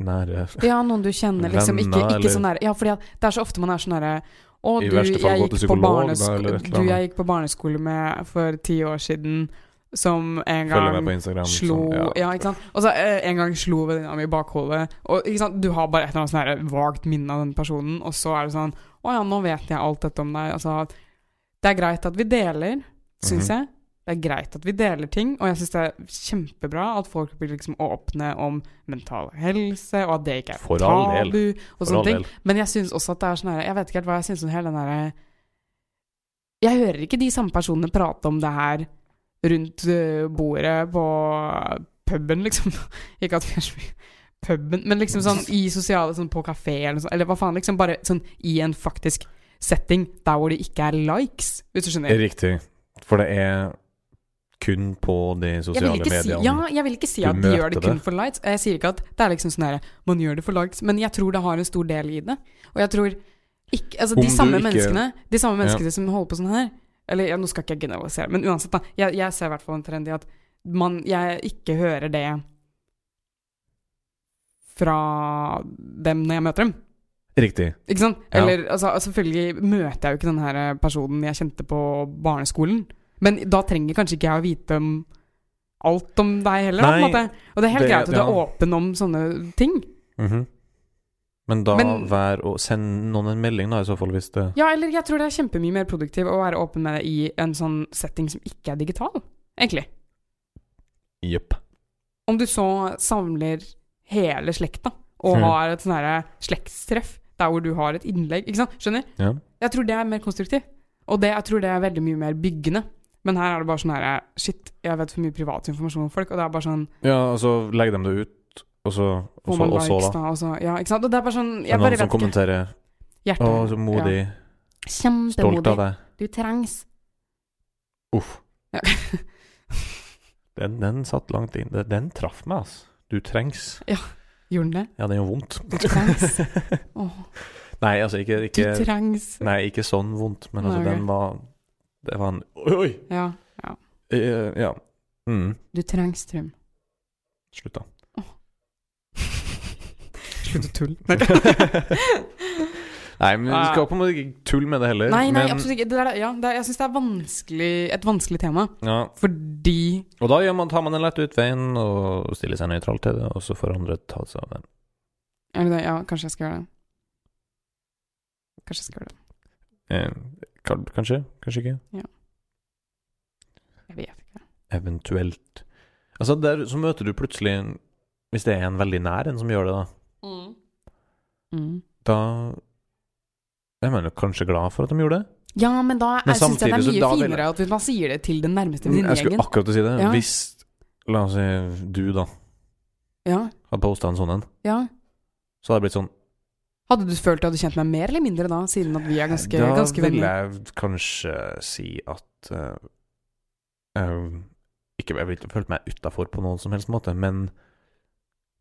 A: nære
B: Ja, noen du kjenner, liksom. Ikke,
A: Venner,
B: ikke
A: eller-
B: sånn der Ja, for det er så ofte man er sånn derre Å,
A: I
B: du,
A: verste fall gå
B: jeg
A: til
B: gikk, på
A: psykolog, da,
B: barnesko-
A: eller et eller
B: du jeg
A: annet.
B: gikk på barneskole med for ti år siden, som en gang
A: Følger meg på Instagram. liksom,
B: Slo ja. ikke sant. Og så eh, en gang slo venninna mi i bakhodet. Og ikke sant, du har bare et eller annet sånn her vagt minne av den personen, og så er det sånn Å ja, nå vet jeg alt dette om deg. Altså, at det er greit at vi deler, syns
A: Mhm.
B: jeg. Det er greit at vi deler ting, og jeg syns det er kjempebra at folk blir liksom åpne om mental helse, og at det ikke er
A: For all del.
B: tabu, og
A: For
B: sånne
A: all
B: ting.
A: del.
B: Men jeg syns også at det er sånn her Jeg vet ikke helt hva jeg syns om hele den herre Jeg hører ikke de samme personene prate om det her rundt øh, bordet på puben, liksom. [LAUGHS] ikke at vi er så mye puben, men liksom sånn i sosiale sånn på kafé eller noe sånt, eller hva faen, liksom bare sånn i en faktisk setting der hvor det ikke er likes, hvis du skjønner.
A: Riktig. For det er kun på de
B: Jeg vil
A: sosiale
B: ikke si,
A: mediene.
B: ja, jeg vil ikke si
A: Du
B: at de
A: møter
B: gjør
A: det.
B: det kun for likes. Jeg sier ikke at det er liksom sånn her Man gjør det for likes, men jeg tror det har en stor del i det. Og jeg tror ikke Altså,
A: Om
B: de
A: du
B: samme,
A: ikke-
B: menneskene, de samme menneskene som holder på sånn her Eller ja, nå skal ikke jeg generalisere, men uansett, da. Jeg, jeg ser i hvert fall en trend i at man Jeg ikke hører det fra dem når jeg møter dem.
A: Riktig.
B: Ikke sant?
A: Ja.
B: Eller altså, selvfølgelig møter jeg jo ikke den her eh, personen jeg kjente på barneskolen. Men da trenger kanskje ikke jeg å vite om alt om deg heller, da, på en
A: Nei,
B: måte. Og det er helt
A: det-
B: greit at du
A: ja.
B: er åpen om sånne ting.
A: Mhm. Men da
B: Men-
A: vær å Send noen en melding, da, i så fall, hvis det
B: Ja, eller jeg tror det er kjempemye mer produktiv å være åpen med det i en sånn setting som ikke er digital, egentlig.
A: Jepp.
B: Om du så samler hele slekta, og
A: Mhm.
B: har et sånn herre slektstreff der hvor du har et innlegg, ikke sant? Skjønner?
A: Ja.
B: Jeg tror det er mer konstruktiv. Og det, jeg tror det er veldig mye mer byggende. Men her er det bare sånn herre Shit, jeg vet for mye privat informasjon om folk, og det er bare sånn
A: ja, altså, legg dem det ut, og så Og
B: Får
A: så,
B: man
A: og så
B: likes,
A: da.
B: da? Og så, ja, ikke sant? Og det er bare sånn
A: Det er
B: Jeg bare
A: noen som
B: vet ikke.
A: kommenterer.
B: Hjerte.
A: Å, så modig.
B: Ja.
A: Stolt av
B: Kjempemodig.
A: deg.
B: Du trengs. [LAUGHS]
A: Uff.
B: Ja.
A: Den, den satt langt inn. Den- Den traff meg, altså. Du trengs.
B: Gjorde den det?
A: Ja, den gjør vondt.
B: Du trengs. Åh,
A: [LAUGHS] Nei, altså, ikke,
B: du
A: ikke
B: trengs.
A: Nei, ikke sånn vondt, men altså,
B: Nei, ok.
A: den var Det var en Oi! oi.
B: Ja.
A: Eh, ja. Mm.
B: Du trengs, Trym.
A: Slutt, [LAUGHS] da.
B: Slutt å tulle.
A: Nei, men vi skal på en måte ikke tulle med det heller.
B: Ah. Nei, nei,
A: men,
B: absolutt ikke. Det der, er- ja, det, er- jeg syns det er vanskelig, et vanskelig tema,
A: Ja.
B: fordi
A: Og da gjør man, tar man den lett ut veien og stiller seg nøytral til det, og så får andre ta seg av det.
B: Er det det? Ja, kanskje jeg skal gjøre det. Kanskje jeg skal gjøre det.
A: Eh, kan- kanskje, kanskje ikke.
B: Jeg vet ikke.
A: Eventuelt. Altså, der, så møter du plutselig en Hvis det er en veldig nær en som gjør det, da,
B: Mm. Mm.
A: da Jeg mener kanskje glad for at de gjorde det.
B: Ja, men da
A: Men
B: jeg syns jeg det
A: samtidig så
B: er mye
A: da vil- Mm,
B: finere at man sier det til den nærmeste
A: Jeg skulle
B: venninnegjengen.
A: akkurat til å si det.
B: Ja.
A: Hvis, la oss si, du da
B: Ja,
A: hadde posta en sånn en,
B: ja.
A: så hadde det blitt sånn
B: Hadde du følt at du kjente meg mer eller mindre da, siden at vi er ganske,
A: Da
B: ganske
A: vil
B: venner?
A: jeg kanskje si at eh, eh, Ikke Jeg vil ikke føle meg utafor på noen som helst måte, men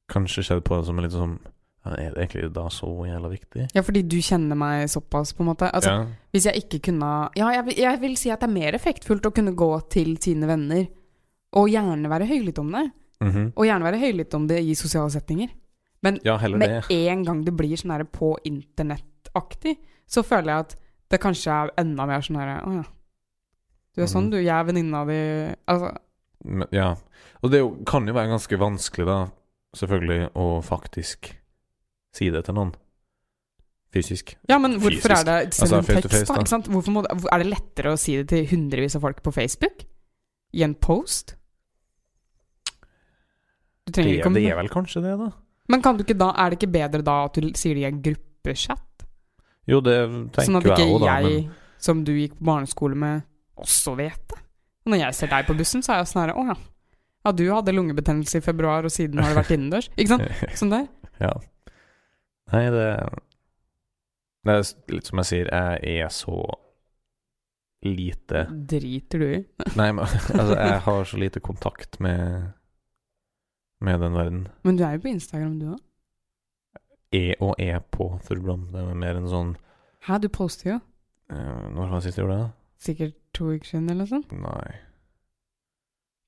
A: kanskje skjedde på det som en litt sånn ja, Er det egentlig da så jævla viktig?
B: Ja, fordi du kjenner meg såpass, på en måte. Altså,
A: ja.
B: Hvis jeg ikke kunne Ja, jeg, vil- jeg vil si at det er mer effektfullt å kunne gå til sine venner og gjerne være høylytt om det.
A: Mhm.
B: Og gjerne være høylytt om det i sosiale settinger.
A: ja, heller
B: Med
A: det.
B: en gang det blir sånn her på internettaktig, så føler jeg at det kanskje er enda mer sånn her Å ja. Du er sånn,
A: Mhm.
B: du. Jeg er venninna di Altså,
A: Men, ja. Og det er jo- kan jo være ganske vanskelig, da, selvfølgelig, å faktisk si det til noen. Fysisk.
B: Ja, men
A: Fysisk.
B: hvorfor er det Send
A: Altså,
B: en
A: face to
B: tekst,
A: face,
B: da.
A: da.
B: Ikke sant? Hvorfor må, det- er det lettere å si det til hundrevis av folk på Facebook? I en post? Du trenger
A: Det,
B: ikke å
A: det er vel kanskje det, da?
B: Men kan du ikke da, er det ikke bedre da at du sier det i en gruppechat?
A: Jo, det
B: Sånn at
A: tenker
B: ikke
A: jeg òg, da.
B: jeg,
A: Men,
B: som du gikk på barneskole med, også vet det? Når jeg ser deg på bussen, så er jeg sånn her Å ja. Ja, du hadde lungebetennelse i februar, og siden har du vært innendørs. Ikke sant? [LAUGHS] Sånn der.
A: [LAUGHS] ja. Nei, det Det er s- litt som jeg sier, jeg er så
B: [LAUGHS]
A: lite
B: Driter du i.
A: Nei, men altså, jeg har så lite kontakt med Med den verden.
B: Men du er jo på Instagram, du òg.
A: Er og er på Furubrand. Det er mer en sånn
B: Hæ, du poster jo.
A: eh, Når var det sist jeg gjorde det?
B: Sikkert to uker siden, eller noe sånt.
A: da? Nei.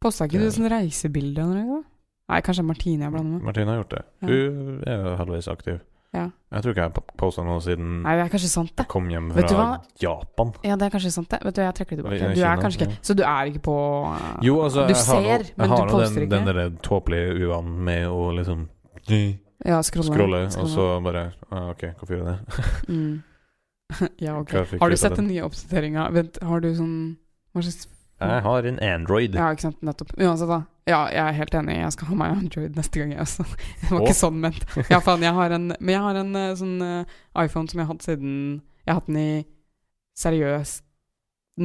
B: Posta ikke du
A: Ja.
B: sånn reisebilde av noe? Nei, kanskje Martine jeg blander med.
A: Martine har gjort det.
B: Ja.
A: Hun er jo halvveis aktiv.
B: Ja.
A: Jeg tror ikke jeg har posta noe siden
B: Nei, det er kanskje sant, det.
A: jeg kom hjem
B: Vet du
A: fra
B: hva?
A: Japan.
B: Ja, det er kanskje sant, det. Vet du, jeg trekker det
A: Ja,
B: tilbake. Du er
A: Kina,
B: kanskje
A: ja.
B: ikke Så du er ikke på uh,
A: Jo, altså,
B: Du
A: jeg har
B: ser,
A: nå- Jeg
B: men du poster
A: har nå den, den
B: ikke.
A: derre tåpelige uvanen med å liksom
B: Ja, scrolle.
A: scrolle, og så bare ah, OK, hvorfor gjør jeg det?
B: Mm. [LAUGHS] Ja, ok.
A: Hva fikk
B: Har
A: ut
B: du
A: av
B: sett
A: den?
B: den nye oppdateringa? Vent, har du sånn Hva slags
A: [LAUGHS] Jeg har en Android.
B: Ja, ikke sant. Nettopp. Uansett, da. Ja, jeg er helt enig. Jeg skal ha meg Android neste gang, jeg også. [LAUGHS] Det var
A: Å.
B: ikke sånn ment. Ja, faen. Jeg har en, men jeg har en eh, sånn eh, iPhone som jeg har hatt siden Jeg har hatt den i seriøst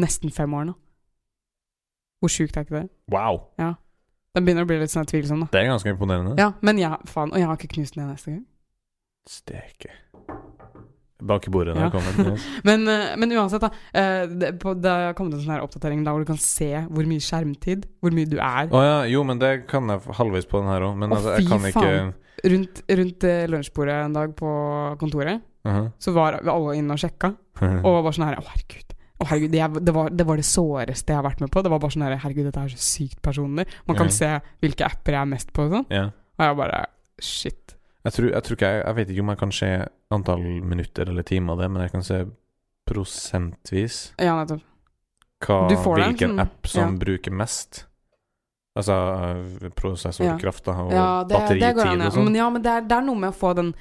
B: nesten fem år nå. Hvor sjukt er ikke det?
A: Wow!
B: Den begynner å bli litt sånn tvilsom, da.
A: Det er ganske imponerende.
B: Ja, men jeg, faen, og jeg har ikke knust den igjen neste gang.
A: Steke. Bak i bordet når
B: Ja.
A: jeg kommer.
B: [LAUGHS]
A: Yes.
B: Men, eh, men uansett, da. eh, Det, på, det har kommet en sånn her oppdatering da hvor du kan se hvor mye skjermtid, hvor mye du er.
A: Å ja, jo, men det kan jeg halvveis på den her òg. Men
B: Å,
A: altså, jeg
B: fy
A: kan ikke
B: faen. Rundt, rundt eh, lunsjbordet en dag på kontoret,
A: Mhm.
B: så var alle inne og sjekka. Og var bare sånn her Å, herregud. Å, herregud det, er- det, var, det var det såreste jeg har vært med på. Det var bare sånn her Herregud, dette er så sykt personlig. Man kan
A: Ja.
B: se hvilke apper jeg er mest på og sånn.
A: [LAUGHS] Ja.
B: Og jeg bare Shit.
A: Jeg tror, jeg tror ikke jeg, jeg vet ikke om jeg kan se antall minutter eller timer av det, men jeg kan se prosentvis
B: Ja, nettopp.
A: hva,
B: Du får Mm. den
A: hvilken
B: som-
A: app som bruker mest. Altså eh, prosessorkraft da, og
B: Ja, det, det
A: batteritid
B: går an. Ja.
A: og sånn.
B: Men, ja, men det, er, det er noe med å få den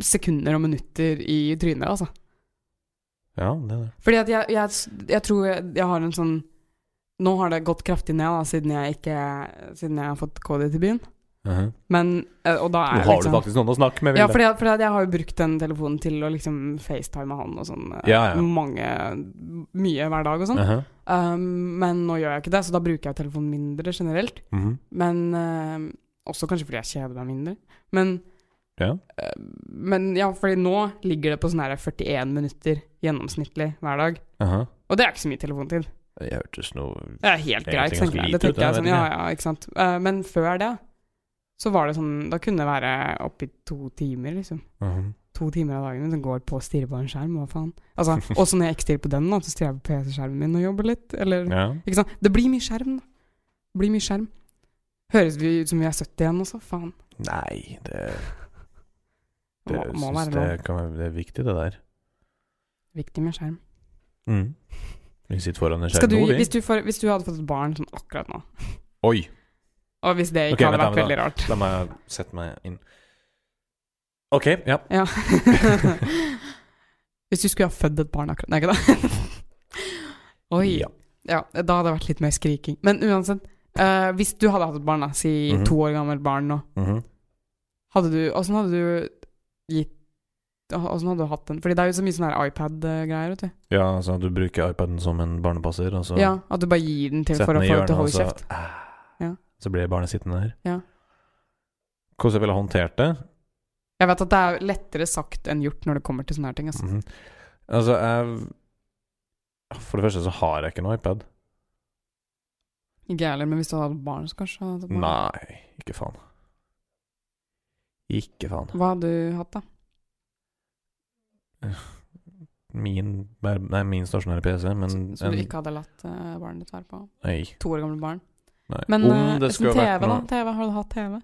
B: sekunder og minutter i trynet, altså.
A: Ja, det er det.
B: Fordi at jeg, jeg, jeg tror jeg, jeg har en sånn Nå har det gått kraftig ned, da, siden jeg ikke Siden jeg har fått KD til byen.
A: Mhm.
B: Men eh, Og da
A: Nå
B: er
A: har du
B: liksom
A: faktisk noen å snakke med,
B: Ja,
A: Vilde.
B: fordi, at- fordi at jeg har jo brukt den telefonen til å liksom facetime med han og sånn eh,
A: Ja, ja.
B: mange Mye hver dag og sånn.
A: Mhm.
B: Um, men nå gjør jeg ikke det, så da bruker jeg telefonen mindre generelt.
A: Mhm.
B: Men eh, Også kanskje fordi jeg kjeder meg mindre. Men
A: Ja.
B: eh, Men ja, fordi nå ligger det på sånn her 41 minutter gjennomsnittlig hver dag.
A: Aha.
B: Og det er ikke så mye telefontid.
A: Det hørtes noe
B: Det er helt
A: Det er
B: greit,
A: egentlig
B: tenker
A: ganske
B: jeg.
A: lite
B: Det
A: ut,
B: tenker jeg
A: jeg
B: sånn,
A: vet
B: ja,
A: ikke.
B: ja, ikke sant. Eh, men før det, så var det sånn Da kunne det være oppi to timer, liksom.
A: Mhm.
B: To timer av dagen min som går på å stirre på en skjerm, hva faen.
A: [LAUGHS]
B: Altså, også når jeg ikke stirrer på den, da, så stirrer jeg på PC-skjermen min og jobber litt, eller
A: Ja.
B: Ikke sant. Det blir mye skjerm, da. Det blir mye skjerm. Høres vi ut som vi er 70 igjen også? Faen.
A: Nei, det,
B: Det
A: det,
B: må, må
A: synes
B: være lov.
A: det, kan være, det er viktig, det der. Mm.
B: Viktig med skjerm.
A: Vi sitter foran en
B: Skal
A: skjerm
B: du,
A: nå, vi.
B: hvis, du får, hvis du hadde fått et barn sånn akkurat nå,
A: Oi!
B: og hvis det ikke
A: Ok,
B: hadde
A: vent
B: vært
A: da,
B: veldig rart
A: La meg sette meg inn. OK, ja.
B: Ja. [LAUGHS] Hvis du skulle ha født et barn akkurat Nei, ikke det? Oi. Ja.
A: Ja.
B: da hadde det vært litt mer skriking. Men uansett, eh, hvis du hadde hatt et barn, da, si
A: Mhm.
B: to år gammelt barn nå,
A: Mhm.
B: hadde du Åssen hadde du gitt Åssen hadde du hatt den? Fordi det er jo så mye sånn her iPad-greier, vet du.
A: Ja, altså du bruker iPaden som en barnepasser, og så
B: Ja, At du bare gir den til
A: setter
B: for å
A: den i
B: få henne til å
A: hjørnet, altså. og
B: holde
A: så Ah.
B: kjeft. Ja.
A: Så blir barnet sittende der.
B: Ja.
A: Hvordan jeg ville håndtert det?
B: Jeg vet at det er lettere sagt enn gjort når det kommer til sånne her ting. Altså.
A: Mhm. Altså, jeg For det første så har jeg ikke noe iPad.
B: Ikke jeg heller, men hvis du hadde hatt barn, så kanskje hadde hatt barn.
A: Mhm. Nei, ikke faen. Ikke faen.
B: Hva hadde du hatt, da?
A: Min, nei, min stasjonære PC, men
B: Som som du
A: Mm, en-
B: ikke hadde latt eh, barnet ditt være på?
A: Nei.
B: To år gamle barn.
A: nei.
B: Men
A: Om
B: eh,
A: det
B: som
A: skulle
B: TV,
A: vært
B: da?
A: noe
B: TV, Har du hatt TV?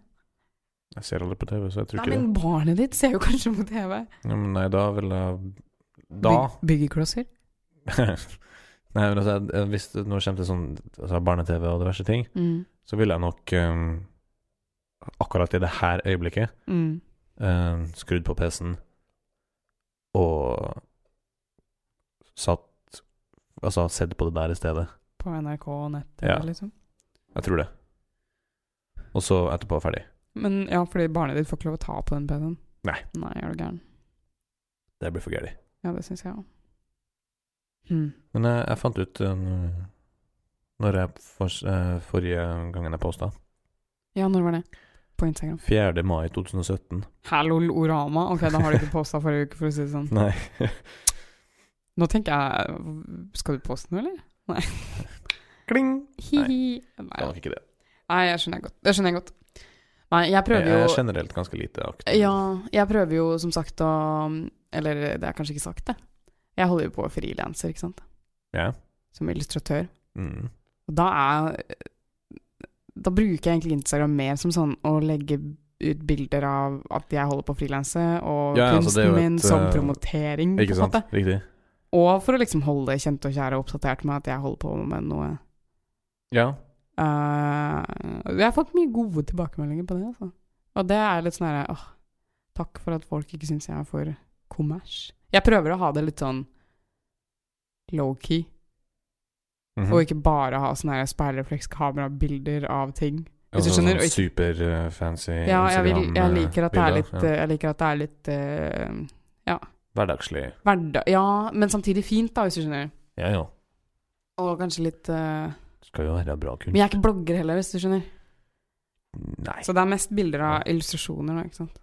A: Jeg ser aldri på TV, så jeg tror
B: Nei,
A: ikke
B: men barnet ditt ser jo kanskje på TV.
A: det. Ja, men nei, da ville jeg Da
B: Byg- Byggeklosser?
A: [LAUGHS] Nei, men altså, jeg- hvis det nå kommer til sånn altså, barne-TV og diverse ting,
B: Mm.
A: så ville jeg nok ehm, akkurat i det her øyeblikket
B: Mm.
A: ehm, skrudd på PC-en og satt Altså sett på det der i stedet.
B: På NRK og nett,
A: Ja.
B: liksom.
A: Jeg tror det. Og så etterpå ferdig.
B: Men ja, fordi barnet ditt får ikke lov å ta på den PC-en.
A: Nei.
B: Nei, er du gæren.
A: Det blir for gærent.
B: Ja, det syns jeg òg. Mm.
A: Men jeg, jeg fant ut eh, nå- når jeg for, eh, forrige gangen jeg posta,
B: Ja, når var det? På Instagram.
A: 4. mai 2017
B: Hallo, orama. Ok, da har du ikke posta forrige uke, for å si det sånn.
A: Nei.
B: Nå tenker jeg Skal du poste noe, eller? Nei.
A: Kling!
B: Hi-hi.
A: Det
B: Nei.
A: var ikke det.
B: Nei, jeg skjønner godt. Det skjønner jeg godt. Nei, jeg
A: Jeg
B: prøver jo
A: er generelt ganske lite aktiv.
B: Ja, jeg prøver jo som sagt å Eller det er kanskje ikke sagt, det. Jeg holder jo på frilanser, ikke sant.
A: Ja.
B: Som illustratør.
A: Mm.
B: Og da er Da bruker jeg egentlig Instagram mer som sånn å legge ut bilder av at jeg holder på å frilanse, og
A: Ja, ja, altså, det er
B: kunsten
A: jo
B: min
A: et,
B: som
A: eh,
B: promotering, på
A: Ikke
B: en
A: sant?
B: måte.
A: Riktig.
B: Og for å liksom holde kjente og kjære oppdatert med at jeg holder på med noe.
A: Ja.
B: Eh, jeg har fått mye gode tilbakemeldinger på det, altså. Og det er litt sånn her åh, Takk for at folk ikke syns jeg er for kommers. Jeg prøver å ha det litt sånn low-key,
A: Mhm.
B: og ikke bare ha sånne her speilreflekskamera-bilder av ting. hvis du
A: Altså
B: skjønner,
A: sånn
B: og ikke-
A: Superfancy
B: Ja, jeg, vil, jeg liker at det er litt,
A: Ja.
B: eh, jeg liker at det er litt eh,
A: Hverdagslig.
B: hverdag... Ja, men samtidig fint, da, hvis du skjønner.
A: Ja ja.
B: Og kanskje litt eh,
A: Skal jo være bra kunst.
B: Men jeg er ikke blogger heller, hvis du skjønner.
A: Nei.
B: Så det er mest bilder av illustrasjoner, da, ikke sant.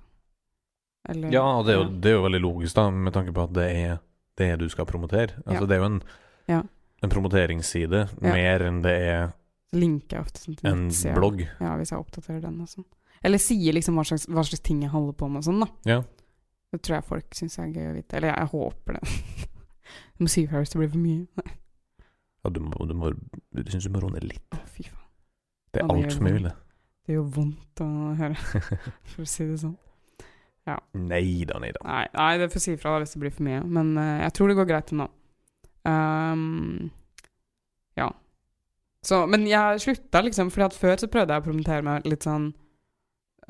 B: Eller-
A: Ja, og det er, jo, det er jo veldig logisk, da, med tanke på at det er det du skal promotere. Altså,
B: Ja.
A: det er jo en,
B: Ja.
A: en promoteringsside
B: Ja.
A: mer enn det er
B: linker jeg ofte sånn til
A: en
B: nettsider.
A: blogg.
B: Ja, hvis jeg oppdaterer den og sånn. Eller sier liksom hva slags, hva slags ting jeg holder på med og sånn, da.
A: Ja.
B: Det tror jeg folk syns er gøy å vite. Eller jeg, jeg håper det. [LAUGHS] Du må si ifra hvis det blir for mye.
A: Ja, du, må, du, må, du syns du må roe ned litt.
B: Å, fy faen.
A: Det
B: Ja,
A: er
B: det gjør
A: altfor mye,
B: det.
A: Vilde.
B: Det gjør vondt å høre, [LAUGHS] for å si det sånn.
A: Nei da, nei da.
B: Nei, nei det får si ifra da hvis det blir for mye. Men eh, jeg tror det går greit til nå. Ehm, ja. Så, men jeg slutta liksom, fordi at før så prøvde jeg å promotere meg litt sånn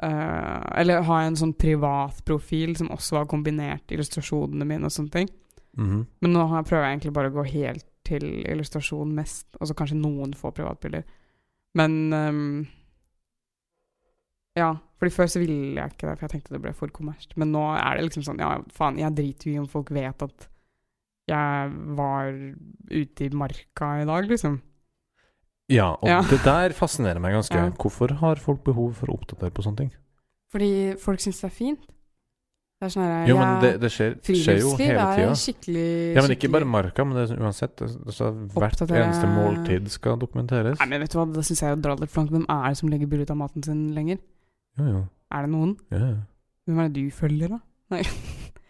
B: eh, Eller ha en sånn privat profil som også har kombinert illustrasjonene mine og sånne ting.
A: Mhm.
B: Men nå har- prøver jeg egentlig bare å gå helt til illustrasjon mest, og så kanskje noen få privatbilder. Men ehm, Ja, fordi før så ville jeg ikke det, for jeg tenkte det ble for kommersielt. Men nå er det liksom sånn Ja, faen, jeg driter jo i om folk vet at jeg var ute i marka i dag, liksom.
A: Ja, og
B: Ja.
A: det der fascinerer meg ganske.
B: Ja.
A: Hvorfor har folk behov for å oppdatere på sånne ting?
B: Fordi folk syns det er fint. Det er sånn her
A: Jo,
B: jeg-
A: men det, det skjer, skjer jo
B: Friluftsliv
A: hele
B: er
A: tida.
B: skikkelig
A: Ja, men ikke
B: skikkelig-
A: bare marka, men det er uansett. det- Altså, hvert
B: Oppdatere-
A: eneste måltid skal dokumenteres.
B: Nei, men vet du hva, det syns jeg er å dra det litt langt. Hvem er det som legger bilde ut av maten sin lenger?
A: Jo, jo.
B: Er det noen?
A: Ja, ja.
B: Hvem er det du følger, da?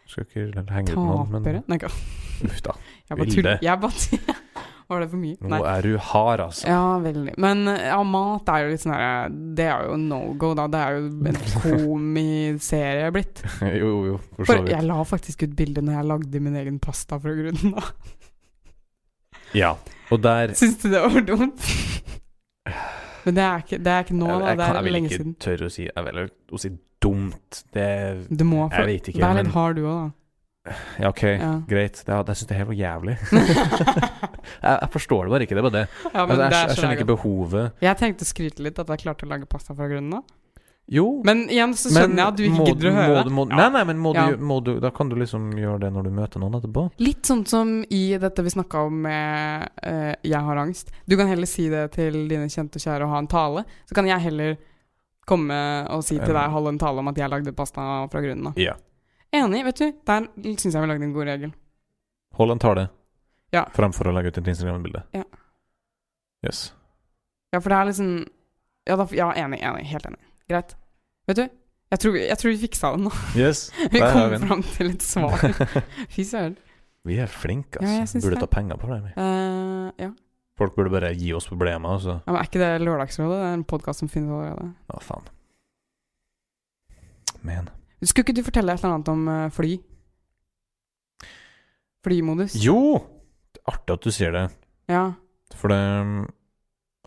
A: Skal ikke henge ut noen, men
B: Tapere? Nei, ikke.
A: Uff da.
B: Jeg bare
A: Vilde.
B: tuller. Jeg bare [LAUGHS] tuller. Var det for mye?
A: Nå
B: Nei.
A: er du hard, altså.
B: Ja, veldig. Men ja, mat er jo litt sånn her Det er jo no go, da. Det er jo
A: [LAUGHS]
B: en komiserie blitt.
A: [LAUGHS] jo, jo, jo. For så
B: For
A: vidt.
B: jeg la faktisk ut bilde når jeg lagde min egen pasta fra grunnen.
A: [LAUGHS]
B: da.
A: Ja. Og der
B: Syns du det
A: [SIGHS]
B: var dumt? Men det er ikke, det er ikke nå, da.
A: jeg,
B: Det
A: kan- jeg
B: er
A: vil
B: lenge
A: ikke
B: siden.
A: tørre å si Jeg vil ikke å si dumt. Det
B: Du må
A: Jeg vet ikke,
B: Vær
A: men- Eh.
B: litt hard, du òg,
A: Ja, OK.
B: da.
A: [LAUGHS]
B: Ja.
A: Greit. Det, jeg syns det er helt
B: [LAUGHS]
A: jævlig.
B: ja,
A: Jeg, jeg forstår det bare ikke. Det er bare det.
B: men
A: altså, jeg,
B: det
A: jeg
B: er så
A: skjønner
B: jeg
A: ikke behovet.
B: Jeg tenkte å skryte litt at jeg klarte å lage pasta fra grunnen av.
A: Jo,
B: Men igjen så skjønner jeg at du ikke
A: må-
B: gidder å høre.
A: Må, du- må,
B: Ja.
A: Nei, nei, men må
B: Ja.
A: du, må du, da kan du liksom gjøre det når du møter noen etterpå.
B: Litt sånn som i dette vi snakka om med eh, 'jeg har angst'. Du kan heller si det til dine kjente og kjære og ha en tale. Så kan jeg heller komme og si til
A: Ja.
B: deg, holde en tale om at jeg lagde pasta fra grunnen av.
A: Ja.
B: Enig, vet du. Der syns jeg vi lagde en god regel.
A: Hold en tale
B: Ja.
A: fremfor å legge ut et Instagram-bilde.
B: Ja.
A: Yes.
B: Ja, for det er liksom Ja, da, ja enig, enig. Helt enig. Greit. Vet du, jeg tror, vi- jeg tror vi fiksa det nå. [LAUGHS]
A: yes.
B: Vi
A: Der har
B: kom
A: vi den.
B: fram til et [LAUGHS] svar. Fy søren.
A: [LAUGHS] Vi er flinke,
B: Ja,
A: altså.
B: jeg syns
A: burde
B: det.
A: ta penger på det. vi.
B: Eh, ja.
A: Folk burde bare gi oss problemer, og så
B: ja. Men er ikke det Lørdagsrådet? Det er en podkast som finnes allerede.
A: Å, faen. Men
B: Skulle ikke du fortelle et eller annet om eh, fly? Flymodus?
A: Jo! Det er artig at du sier det,
B: Ja.
A: for det um,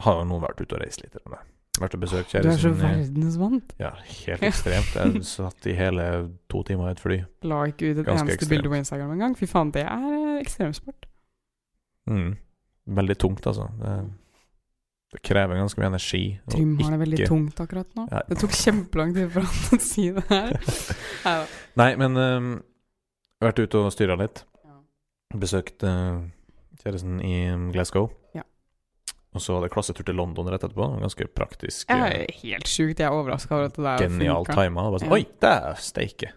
A: har jo nå vært ute og reist litt. eller noe. Vært og besøkt
B: Du er så
A: kjæresten min. i-
B: verdensvant.
A: Ja,
B: [LAUGHS]
A: helt ekstremt. Jeg satt i hele to timer i et fly.
B: La ikke ut et
A: Ganske
B: eneste
A: ekstremt.
B: bilde på Instagram engang. Fy faen, det er eh, ekstremsport.
A: Mm. Veldig tungt, altså. Det, det krever ganske mye energi. og
B: Trym har det veldig
A: ikke-
B: tungt akkurat nå.
A: Ja.
B: Det tok kjempelang tid for han å si det
A: [LAUGHS]
B: her. Neida.
A: Nei, men um, vært ute og styra litt. Besøkt eh, kjæresten i um, Glasgow.
B: Ja.
A: Og så hadde jeg klassetur til London rett etterpå. Ganske praktisk.
B: Jeg
A: eh,
B: er helt sjukt. Jeg er overraska over at det der
A: Genial
B: funka.
A: tima. Og bare sånn,
B: Ja.
A: Oi, der steike!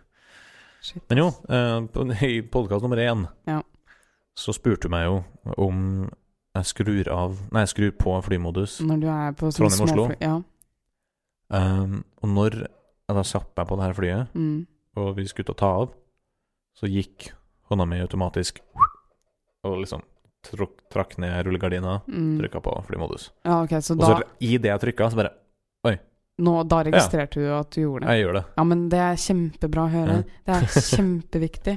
B: Shit.
A: Men jo, eh, på- i podkast nummer én
B: Ja.
A: så spurte du meg jo om jeg skrur av Nei, jeg skrur på flymodus.
B: Når du er på sånne
A: Trondheim-Oslo.
B: småfly- Ja.
A: Um, og når jeg da satt meg på det her flyet,
B: Mm.
A: og vi skulle til å ta av, så gikk hånda mi automatisk og liksom trakk, trakk ned rullegardina,
B: Mm.
A: trykka på flymodus.
B: Ja, ok, så
A: Og
B: da,
A: så i det jeg trykka, så bare
B: nå, da registrerte du at du gjorde det?
A: Jeg gjør det.
B: Ja, men det er kjempebra å høre. Det er kjempeviktig.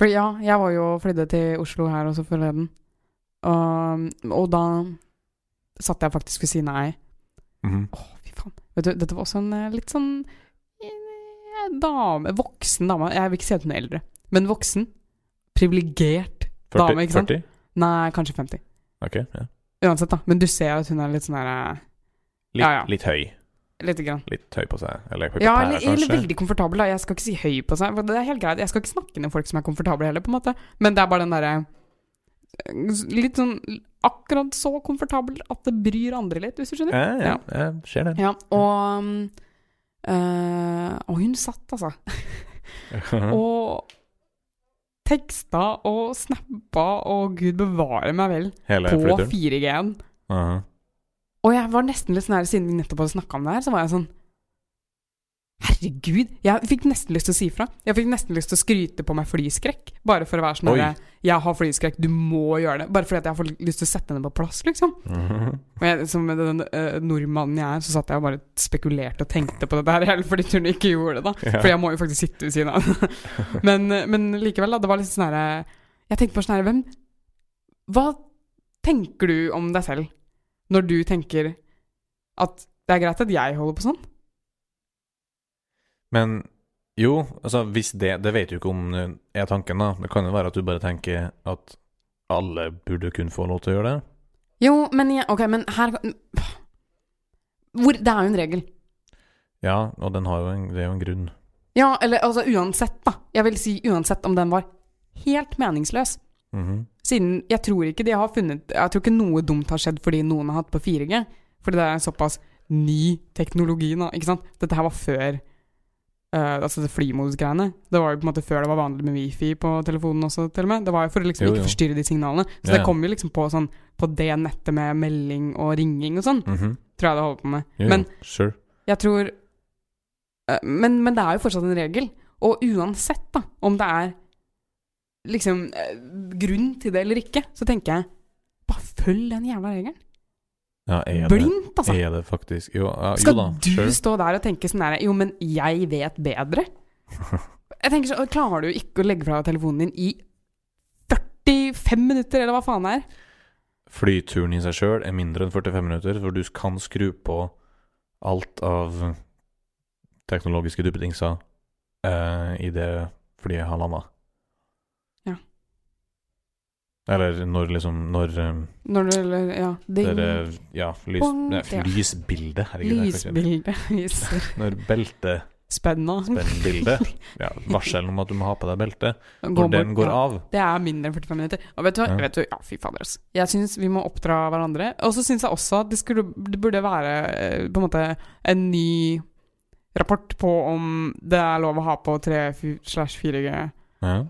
B: For ja, jeg var jo og flydde til Oslo her også forleden. Og, og da satt jeg faktisk ved siden av ei.
A: Mhm.
B: Å, fy faen. Vet du, dette var også en eh, litt sånn eh, dame Voksen dame. Jeg vil ikke si at hun er eldre, men voksen. Privilegert.
A: 40,
B: Dame, ikke sant?
A: 40?
B: Nei, kanskje 50.
A: Ok. Ja.
B: Uansett, da. Men du ser at hun er litt sånn her eh,
A: Litt,
B: Ja, ja.
A: litt høy.
B: Lite grann.
A: Litt høy på seg. Eller høy på
B: Ja,
A: pæra,
B: eller, eller
A: kanskje.
B: veldig komfortabel. Da. Jeg skal ikke si høy på seg. for Det er helt greit. Jeg skal ikke snakke ned folk som er komfortable heller, på en måte. Men det er bare den derre Litt sånn akkurat så komfortabel at det bryr andre litt, hvis du skjønner.
A: Ja, ja, ja. Ser det.
B: Ja, og um, eh, Og hun satt, altså.
A: [LAUGHS] Mm.
B: Og teksta og snappa og gud bevare meg vel
A: Hele
B: på
A: flyturen.
B: 4G-en.
A: Aha.
B: Og jeg var nesten litt sånn her, siden vi nettopp hadde snakka om det her, så var jeg sånn Herregud! Jeg fikk nesten lyst til å si fra. Jeg fikk nesten lyst til å skryte på meg flyskrekk. Bare for å være sånn
A: Oi.
B: her, Jeg har flyskrekk, du må gjøre det. Bare fordi at jeg får lyst til å sette henne på plass, liksom.
A: Mhm.
B: Og jeg, som den eh, nordmannen jeg er, så satt jeg og bare spekulerte og tenkte på dette her [LAUGHS] hele fordi hun ikke gjorde det, da.
A: Ja.
B: [LAUGHS] For jeg må jo faktisk sitte ved siden av henne. men, men likevel, da. Det var litt sånn herre Jeg tenkte på sånn herre Hvem Hva tenker du om deg selv når du tenker at det er greit at jeg holder på sånn?
A: Men jo, altså hvis det Det vet du ikke om det er tanken, da. Det kan jo være at du bare tenker at alle burde kun få lov til å gjøre det.
B: Jo, men jeg, ok, men her hvor, Det er jo en regel.
A: Ja, og den har jo en, det er jo en grunn.
B: Ja, eller altså uansett, da. Jeg vil si uansett om den var helt meningsløs.
A: Mhm.
B: Siden jeg tror ikke de har funnet Jeg tror ikke noe dumt har skjedd fordi noen har hatt på 4G. Fordi det er såpass ny teknologi nå, ikke sant. Dette her var før eh, Altså det flymodus-greiene. Det var jo på en måte før det var vanlig med wifi på telefonen også, til og med. Det var jo for å liksom
A: Jo, jo.
B: ikke forstyrre de signalene. Så
A: Ja, ja.
B: det kom jo liksom på sånn På det nettet med melding og ringing og sånn,
A: Mhm.
B: tror jeg det holder på med.
A: Jo, jo,
B: Men
A: sure.
B: jeg tror eh, men, men det er jo fortsatt en regel. Og uansett da, om det er liksom eh, grunn til det eller ikke, så tenker jeg bare følg den jævla regelen.
A: Ja, er det,
B: Blindt, altså.
A: er det faktisk Jo, ja, jo
B: Skal
A: da,
B: du stå der og tenke sånn her Jo, men jeg vet bedre.
A: [LAUGHS]
B: Jeg tenker så, Klarer du ikke å legge fra deg telefonen din i 45 minutter, eller hva faen det er?
A: Flyturen i seg sjøl er mindre enn 45 minutter, for du kan skru på alt av teknologiske duppedingser eh, i det flyet har landa.
B: Ja.
A: Eller når liksom Når eh,
B: Når du eller, Ja. Ding.
A: dere, Ja, lys,
B: Bong.
A: nei,
B: Ja.
A: lysbildet. Herregud. det er faktisk-
B: Lysbilde viser
A: [LAUGHS] Når
B: [LAUGHS]
A: beltespennet
B: spenna.
A: ja, Varselen om at du må ha på deg belte.
B: Gå
A: Når
B: bort-
A: den går
B: ja.
A: av.
B: Det er mindre enn 45 minutter. Og vet du hva?
A: Ja.
B: Vet du, ja, fy fader, ass. Jeg syns vi må oppdra hverandre. Og så syns jeg også at det, skulle, det burde være eh, på en måte en ny rapport på om det er lov å ha på 3-4G
A: Ja.
B: eh,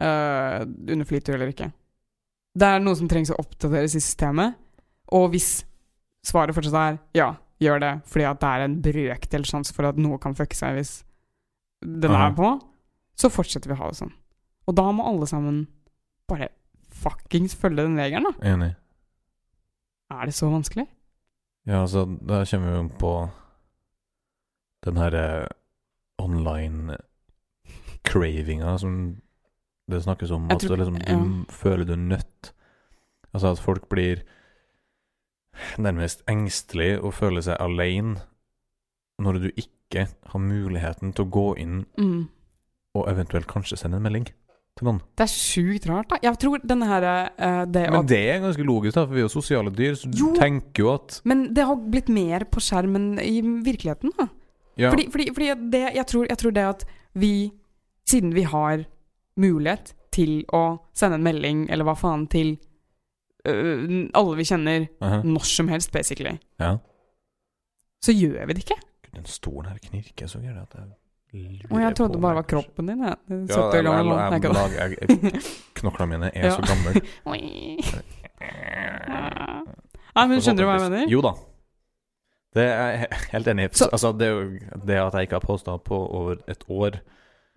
B: under flytur eller ikke. Det er noe som trengs å oppdateres i systemet. Og hvis svaret fortsatt er ja, gjør det, fordi at det er en brøkdel sjanse for at noe kan fucke seg hvis den
A: Aha.
B: er på, så fortsetter vi å ha det sånn. Og da må alle sammen bare fuckings følge den regelen, da.
A: Enig.
B: Er det så vanskelig?
A: Ja, altså, da kommer vi jo på den her eh, online-cravinga som det snakkes om.
B: Jeg
A: At
B: tror-
A: det liksom, du
B: ja.
A: føler du er nødt. Altså at folk blir nærmest engstelige og føler seg alene når du ikke har muligheten til å gå inn
B: Mm.
A: og eventuelt kanskje sende en melding til noen.
B: Det er sjukt rart, da. Jeg tror denne her eh, det
A: Men
B: at-
A: det er ganske logisk, da, for vi er jo sosiale dyr, så du
B: Jo.
A: tenker jo at
B: men det har blitt mer på skjermen i virkeligheten, da.
A: ja,
B: Fordi, fordi, fordi det, jeg, tror, jeg tror det at vi, siden vi har mulighet til å sende en melding eller hva faen til øh, alle vi kjenner
A: aha.
B: når som helst, basically,
A: Ja.
B: så gjør vi det ikke.
A: Gud, Den stolen her knirker så gjerne at jeg lurer
B: Og jeg
A: på
B: trodde det
A: om
B: bare var
A: jeg kanskje-
B: kroppen din. Jeg,
A: Ja,
B: 70 år
A: jeg, jeg, jeg,
B: gammel. Nei,
A: lag- jeg, jeg, knoklene mine er
B: [LAUGHS] Ja.
A: så gamle.
B: ikke da. Nei, men skjønner du hva jeg mener?
A: Jo da. Det er jeg helt enig i.
B: Så-
A: Altså, det, er jo- det at jeg ikke har posta på over et år,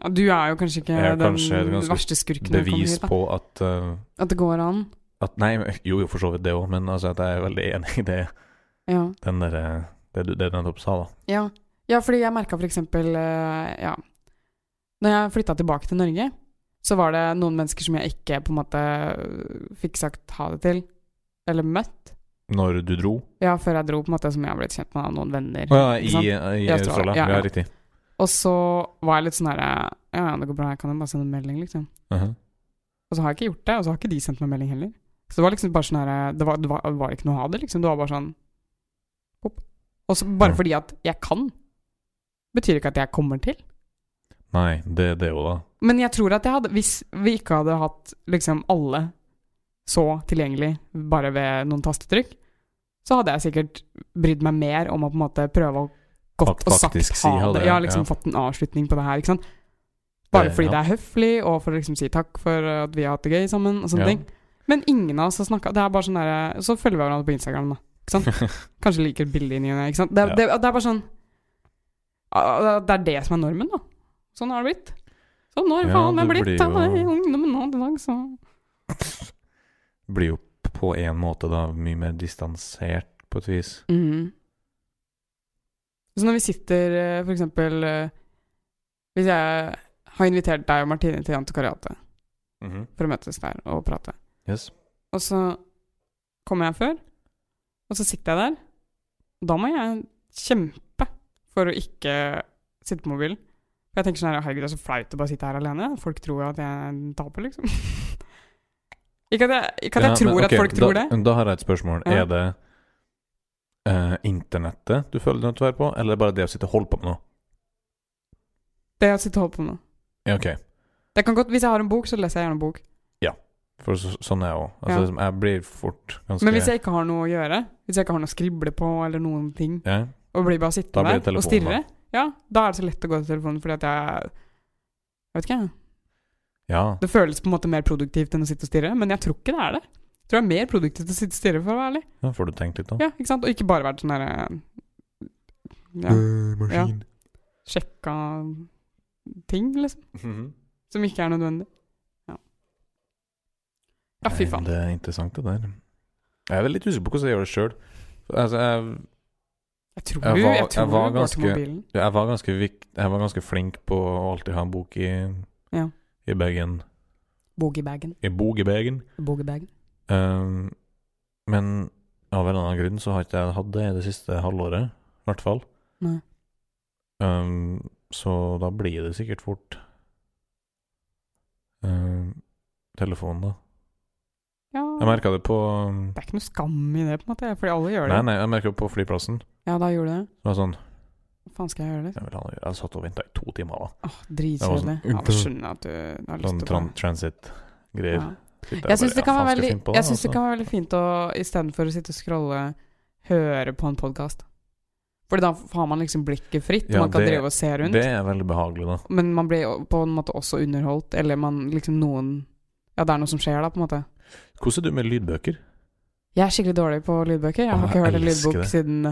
B: Ja, Du er jo kanskje ikke
A: Jeg er
B: den
A: kanskje et ganske
B: verste skurken. når det kommer
A: bevis
B: hit, da.
A: på at, eh,
B: At det går an.
A: at Nei, jo jo, for så vidt det òg, men altså, at jeg er veldig enig i det,
B: Ja.
A: den der, eh, det du det du nettopp sa, da.
B: Ja, ja fordi jeg merka for eksempel eh, ja. Når jeg flytta tilbake til Norge, så var det noen mennesker som jeg ikke på en måte øh, fikk sagt ha det til, eller møtt.
A: Når du dro
B: Ja, før jeg dro, på en måte, som jeg har blitt kjent med av noen venner.
A: Å ja,
B: ikke
A: i,
B: sant?
A: i,
B: I Australia,
A: Australia.
B: ja,
A: Ja,
B: ja.
A: riktig.
B: Og så var jeg litt sånn herre Ja, ja, det går bra, jeg kan jo bare sende en melding, liksom.
A: Mhm.
B: Og så har jeg ikke gjort det, og så har ikke de sendt meg melding heller. Så det var liksom bare sånn herre det, var- det var- det var ikke noe å ha det, liksom. Det var bare sånn pop. Og så bare
A: Ja.
B: fordi at jeg kan, betyr ikke at jeg kommer til.
A: Nei, det er det jo, da.
B: Men jeg tror at jeg hadde, hvis vi ikke hadde hatt liksom alle så tilgjengelig bare ved noen tastetrykk, så hadde jeg sikkert brydd meg mer om å på en måte prøve å godt
A: Fak-
B: og sagt
A: faktisk si
B: ha
A: ha
B: det.
A: det,
B: Ja, liksom
A: ja.
B: fått en avslutning på det her, ikke sant. Bare
A: Det-
B: fordi
A: ja.
B: det er høflig, og for å liksom si takk for at vi har hatt det gøy sammen, og sånne
A: Ja.
B: ting. Men ingen av oss har snakka Det er bare sånn derre Så følger vi hverandre på Instagram, da. Ikke sant? Kanskje liker bildet inni henne, ikke sant. Det,
A: Ja.
B: det, det er bare sånn ah, Det er det som er normen, da. Sånn har det blitt. Sånn har
A: Ja,
B: faen meg
A: det
B: blitt.
A: blir
B: da.
A: jo-
B: Det er Ungdommen nå til dag, så
A: [LAUGHS] blir jo på en måte da mye mer distansert, på et vis.
B: Så når vi sitter eh, for eksempel eh, Hvis jeg har invitert deg og Martine til Antikariatet for å møtes der og prate,
A: Yes.
B: og så kommer jeg før, og så sitter jeg der, og da må jeg kjempe for å ikke sitte på mobilen. For jeg tenker sånn her, herregud, det er så flaut å bare sitte her alene. Folk tror jo at jeg er en taper, liksom. [LAUGHS] ikke at jeg, ikke at jeg
A: Ja, men ok,
B: tror at folk tror
A: da,
B: det.
A: Da har jeg et spørsmål.
B: Ja.
A: Er det eh, internettet du føler at du er på, eller er det bare det å sitte og holde på med noe?
B: Det jeg sitter og holder på med nå.
A: Ja, ok.
B: Det kan godt, Hvis jeg har en bok, så leser jeg gjerne en bok.
A: For så, sånn er jeg òg. Altså,
B: Ja.
A: liksom, jeg blir fort ganske
B: Men hvis jeg ikke har noe å gjøre, hvis jeg ikke har noe å skrible på eller noen ting,
A: ja,
B: og blir
A: Da
B: bare
A: blir
B: sittende
A: det
B: der
A: telefonen, da.
B: og stirre, ja, da er det så lett å gå til telefonen fordi at jeg Jeg vet ikke, jeg.
A: ja.
B: Det føles på en måte mer produktivt enn å sitte og stirre, men jeg tror ikke det er det. Jeg tror det er mer produktivt å sitte og stirre, for å være ærlig.
A: ja, får du tenkt litt, da.
B: Ja, ikke sant? Og ikke bare vært sånn derre ja,
A: Mm.
B: maskin. Sjekka ting, liksom.
A: Mhm.
B: Som ikke er nødvendig. Ja, ja fy
A: Nei,
B: faen.
A: Det er interessant, det der. Jeg er vel litt usikker på hvordan jeg gjør det sjøl. Altså, jeg,
B: Jeg tror,
A: Jeg
B: jeg
A: var-
B: jeg tror
A: jeg var
B: du går til
A: ganske-
B: mobilen.
A: jeg, var ganske vik, jeg var ganske flink på å alltid ha en bok i,
B: Ja.
A: i bagen.
B: Boogie-bagen.
A: I bogebagen.
B: Boogie-bagen.
A: Um, men av en eller annen grunn så har ikke jeg hatt det i det siste halvåret, i hvert fall.
B: Nei.
A: Um, så da blir det sikkert fort um, telefonen, da.
B: Ja.
A: Jeg merka det på
B: Det er ikke noe skam i det, på en måte, fordi alle gjør det.
A: Nei, nei, jeg merket det på flyplassen.
B: Ja, da gjorde du det.
A: Det var sånn
B: Hva faen skal jeg gjøre? det?
A: Jeg, vil ha noe å gjøre. jeg satt og venta i to timer, da.
B: Åh, Dritkjedelig.
A: Det var sånn-
B: Ja, jeg skjønner at du har
A: Sånn
B: lyst til å
A: tran transit-greier.
B: Ja.
A: Sitter
B: Jeg
A: bare,
B: syns det,
A: ja,
B: kan
A: faen, skal jeg
B: være veldig-
A: finne på det,
B: jeg syns det
A: altså?
B: kan være veldig fint å istedenfor å sitte og scrolle, høre på en podkast. For da har man liksom blikket fritt, og
A: Ja,
B: man kan
A: det-
B: drive og se rundt.
A: Det er veldig behagelig, da.
B: Men man blir jo på en måte også underholdt, eller man liksom noen Ja, det er noe som skjer da, på en måte.
A: Hvordan er du med lydbøker?
B: Jeg er skikkelig dårlig på lydbøker. Jeg
A: Åh,
B: har ikke
A: jeg
B: hørt en
A: elsker
B: lydbok
A: det.
B: siden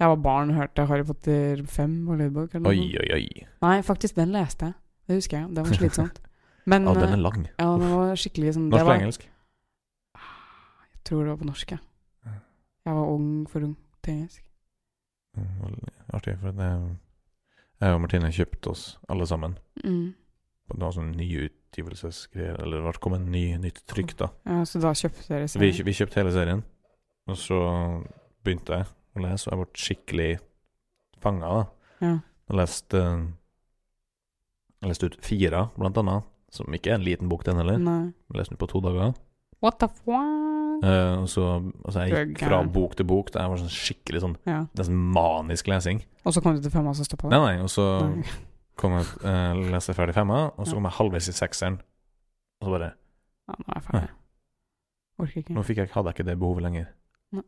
B: jeg var barn og hørte Harry Potter 5 på lydbok. Eller
A: Oi,
B: noe.
A: oi, oi.
B: Nei, faktisk, den leste jeg. Det husker jeg. Det var
A: [LAUGHS]
B: slitsomt. Men eh,
A: Ja,
B: ja,
A: den er lang.
B: den var skikkelig sånn det
A: Norsk
B: var-
A: eller engelsk?
B: Jeg tror det var på norsk, jeg.
A: Ja.
B: Jeg var ung for ung til engelsk.
A: Mm, veldig Artig, for det Jeg og Martine kjøpte oss alle sammen.
B: Mm.
A: Det var sånn nyutgivelsesgreier, eller det kom en ny, nytt trykk, da.
B: Ja, så da kjøpte dere
A: Så vi, kjø- vi kjøpte hele serien, og så begynte jeg å lese, og jeg ble skikkelig fanga, da.
B: Ja.
A: Jeg leste Jeg leste ut fire, blant annet, som ikke er en liten bok, den heller.
B: Nei.
A: Jeg leste den på to dager.
B: What the fuck?
A: Eh, og så altså jeg
B: Du er
A: gikk fra
B: gæren.
A: bok til bok. Det var sånn skikkelig sånn
B: Ja.
A: nesten manisk lesing.
B: Og så kom du til femma, så stoppa
A: Nei,
B: det?
A: nei, og så
B: Nei.
A: kom jeg, eh, leste jeg ferdig femma, og
B: Ja.
A: så kom jeg halvveis i sekseren. Og så bare
B: [LAUGHS] Ja, nå er jeg ferdig. Orker ikke.
A: Nå fikk jeg, hadde jeg ikke det behovet lenger.
B: Det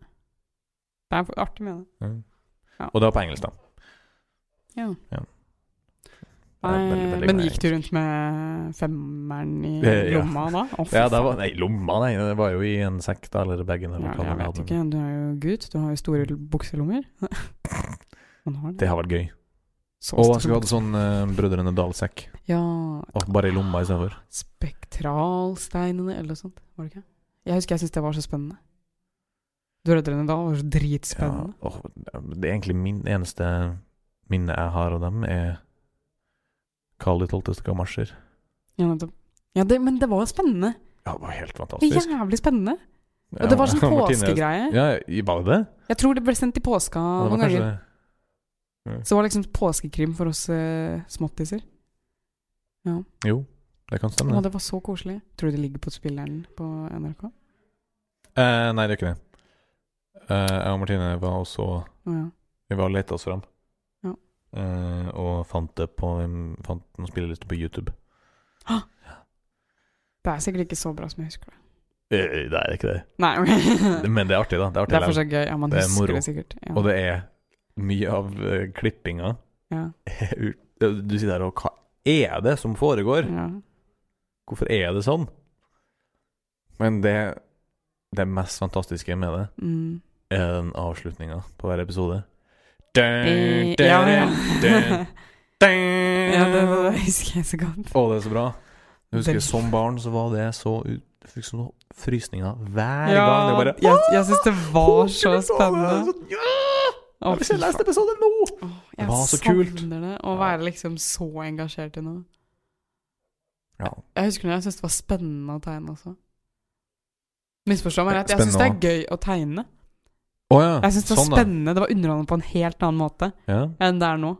B: er for- artig med det.
A: Ja.
B: Ja.
A: Og det var på engelsk, da.
B: Ja.
A: Ja. Jeg er veldig,
B: Nei,
A: veldig
B: men
A: glad i
B: gikk du rundt med femmeren i
A: Ja.
B: lomma da? Å, fy
A: Ja, det
B: faen.
A: var Nei, lomma, nei. Det var jo i en sekk, da, eller bagen, eller
B: ja,
A: hva
B: Jeg
A: det
B: vet
A: var.
B: ikke. Du er jo gutt. Du har jo store l- bukselommer. [LAUGHS] Man har det.
A: Det har vært gøy.
B: Så
A: Og
B: store
A: jeg skulle hatt sånn eh, Brødrene Dal-sekk.
B: bukser. Ja,
A: Og Bare i lomma istedenfor.
B: Spektralsteinene eller noe sånt, var det ikke? Jeg husker jeg syntes det var så spennende. Brødrene Dal var så
A: Ja,
B: dritspennende.
A: åh, det er egentlig min eneste minne jeg har av dem, er Karl 12. gamasjer.
B: Ja, nettopp. Ja, det, men det var jo spennende.
A: Ja, det var helt
B: Det
A: fantastisk.
B: var Jævlig spennende. Og det var
A: [LAUGHS]
B: sånn påskegreie.
A: Ja, i- var det det?
B: Jeg tror det ble sendt i påska
A: Ja, det var
B: noen
A: kanskje
B: ganger. Så det var liksom påskekrim for oss eh, småttiser.
A: Jo, det kan stemme.
B: Å,
A: det.
B: det var så koselig. Tror du det ligger på spilleren på NRK?
A: Eh, nei, det er ikke det. Eh, jeg og Martine var også
B: Å ja.
A: Vi var og lette oss fram.
B: Ja.
A: Eh, og fant det på en- Fant en spilleliste på YouTube.
B: Det er sikkert ikke så bra som jeg husker det.
A: Eh, det er ikke det.
B: Nei, [LAUGHS] ok.
A: Det- Men det er artig, da. Det er artig
B: Det er
A: likevel.
B: fortsatt gøy. Ja, man
A: Det er
B: husker
A: moro.
B: det sikkert. Ja.
A: Og det er mye av eh, klippinga
B: ja.
A: er ut- Du sitter der og Hva er det som foregår?
B: Ja.
A: Hvorfor er det sånn? Men det Det mest fantastiske med det,
B: Mm.
A: er den avslutninga på hver episode.
B: Eh,
A: Dun, dun,
B: ja, ja.
A: dun, dun.
B: [LAUGHS] ja, det, det, det husker jeg så godt.
A: Å, det er så bra. Jeg husker
B: Den-
A: Som barn så var det så ut, Jeg fikk sånn frysninger hver
B: Ja,
A: gang. Det var bare,
B: jeg- jeg synes det var
A: Åh,
B: så
A: jeg så det,
B: spennende.
A: sånn, ja!
B: Å,
A: Jeg vil
B: fy
A: se neste episode nå!
B: faen. Å,
A: Det var så
B: Jeg
A: kult.
B: savner det å
A: Ja.
B: være liksom så engasjert i noe.
A: Ja.
B: Jeg husker når jeg syntes det var spennende å tegne også. Misforstå meg rett, jeg syns det
A: Spennende
B: er gøy å tegne.
A: Å ja,
B: Jeg syns det var
A: sånn, ja.
B: spennende, det var underholdende på en helt annen måte
A: Ja.
B: enn det er nå.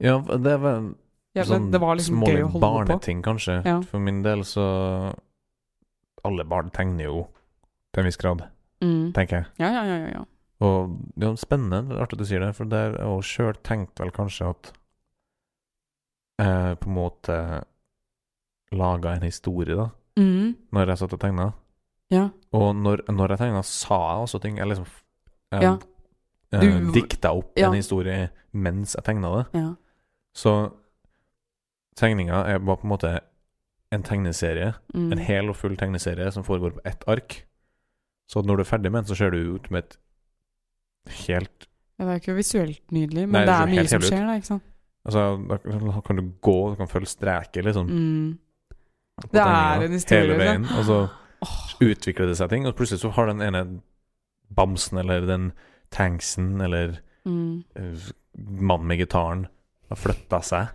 A: ja, det var
B: Ja, men det var liksom
A: smålig
B: gøy å holde på.
A: Sånn barneting, kanskje.
B: Ja.
A: For min del så Alle barn tegner jo til en viss grad,
B: Mm.
A: tenker jeg.
B: Ja, ja, ja, ja, ja.
A: Og det er spennende, det er artig at du sier det, for der har jeg sjøl tenkt vel kanskje at eh, På en måte laga en historie, da,
B: Mm.
A: når jeg satt og tegna.
B: Ja.
A: Og når, når jeg tegna, sa jeg også ting. Jeg liksom eh,
B: Ja.
A: eh,
B: Du-
A: dikta opp
B: Ja.
A: en historie mens jeg tegna det.
B: Ja.
A: Så tegninga er bare på en måte en tegneserie.
B: Mm.
A: En hel og full tegneserie som foregår på ett ark. Så når du er ferdig med den, så ser du ut med et helt
B: Ja, Det er ikke visuelt nydelig,
A: Nei,
B: men det
A: det ser
B: er mye
A: helt
B: som
A: jævlig ut.
B: skjer, da, ikke sant.
A: Altså, da da kan du gå, du kan følge streket, liksom.
B: Mm.
A: på
B: Det er
A: tegninga,
B: en historie.
A: Hele
B: liksom.
A: veien. Og så
B: Åh,
A: utvikler det seg ting, og plutselig så har den ene bamsen eller den tanksen eller
B: mm.
A: eh, mannen med gitaren har flytta seg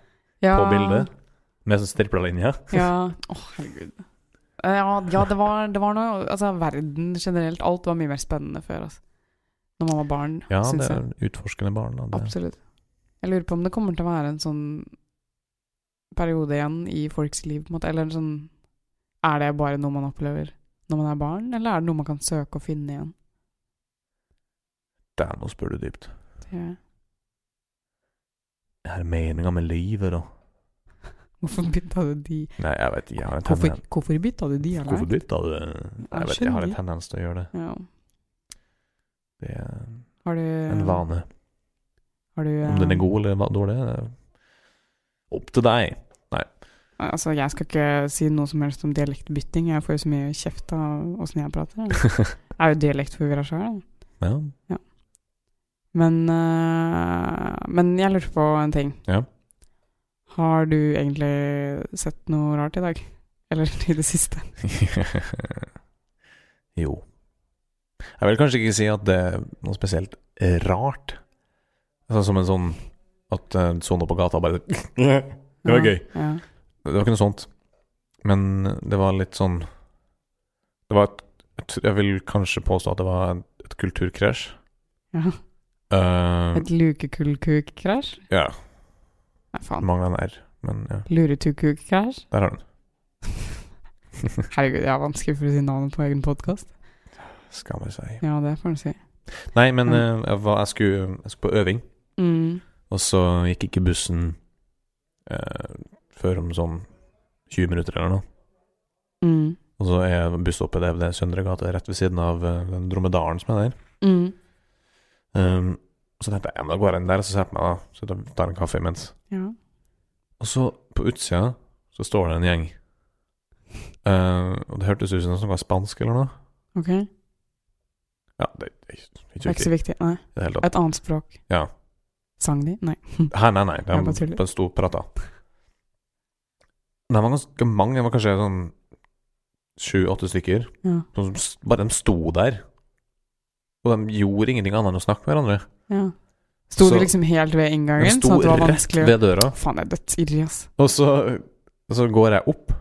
B: ja.
A: på bildet med sånn striplelinje.
B: Ja. Åh, herregud. Eh, Ja, ja det, var, det var noe Altså, verden generelt, alt var mye mer spennende før, altså. Når man var barn,
A: Ja, det
B: syns jeg.
A: er utforskende barn. Da. Det,
B: Absolutt. Jeg lurer på om det kommer til å være en sånn periode igjen i folks liv, på en måte. Eller en sånn Er det bare noe man opplever når man er barn, eller er det noe man kan søke og finne igjen?
A: det er noe spør du dypt.
B: Det-
A: Hva er meninga med livet, da?
B: Hvorfor bytta du de?
A: Nei, jeg vet ikke. Jeg har en
B: Hvorfor,
A: tendens
B: hvorfor bytta du de, eller?
A: Hvorfor bytta du?
B: Jeg
A: Jeg vet, jeg har en
B: skjønner.
A: tendens til å gjøre det.
B: Ja.
A: Det er
B: Har du
A: en vane.
B: Har du, eh,
A: Om den er god eller hva- dårlig, det er opp til deg. [LAUGHS]
B: eh, Altså, jeg skal ikke si noe som helst om dialektbytting. Jeg får jo så mye kjeft av åssen jeg prater. jeg. Jeg er jo dialektforvirra sjøl.
A: ja. [LAUGHS]
B: Men, eh, men jeg lurte på en ting.
A: Ja.
B: Har du egentlig sett noe rart i dag? Eller [LAUGHS] i det siste?
A: jo. Jeg vil kanskje ikke si at det er noe spesielt rart. Sånn som en sånn at eh, Sone på gata bare [LAUGHS] Det var gøy.
B: Ja.
A: Det var ikke noe sånt. Men det var litt sånn Det var et Jeg, tr- jeg vil kanskje påstå at det var en- et kulturkrasj.
B: ja.
A: Eh,
B: Et lukekullkuk-krasj?
A: ja.
B: Nei, faen.
A: Mangla en R, men ja.
B: Luretukuk-krasj?
A: Der har du den.
B: Herregud, jeg har vanskelig for å si navnet på egen podkast.
A: [LAUGHS] Skammer seg.
B: Ja, det får du si.
A: Nei, men eh, jeg, var, jeg, skulle, jeg skulle på øving.
B: Mm.
A: Og så gikk ikke bussen eh, før om sånn 20 minutter eller noe.
B: Mm.
A: Og så er busstoppet der ved Søndre gate rett ved siden av eh, den dromedaren som er der.
B: Mm.
A: Um, og så tenkte jeg ja, men da går jeg inn der og så ser jeg på meg, da. Så da tar jeg en kaffe imens.
B: Ja.
A: Og så på utsida så står det en gjeng. Eh, og det hørtes ut som noen som var spansk eller noe.
B: Ok. Det
A: Ja, det er ikke
B: er
A: viktig
B: ikke så viktig. Nei.
A: i det hele tatt.
B: Et annet språk.
A: Ja.
B: Sang de? Nei.
A: Her, nei, nei.
B: Jeg bare
A: De
B: tuller.
A: bare sto og prata. De var ganske mange. Det var kanskje sånn sju-åtte stykker.
B: Ja.
A: Sånn som s- bare de sto der. Og de gjorde ingenting annet enn å snakke med hverandre.
B: ja. Sto
A: Så-
B: de liksom helt ved
A: De
B: inngangen?
A: sto
B: Sånn at det var
A: rett
B: vanskelig å
A: ved døra.
B: Faen, det er dødsirrig, ass.
A: Og så, og så går jeg opp,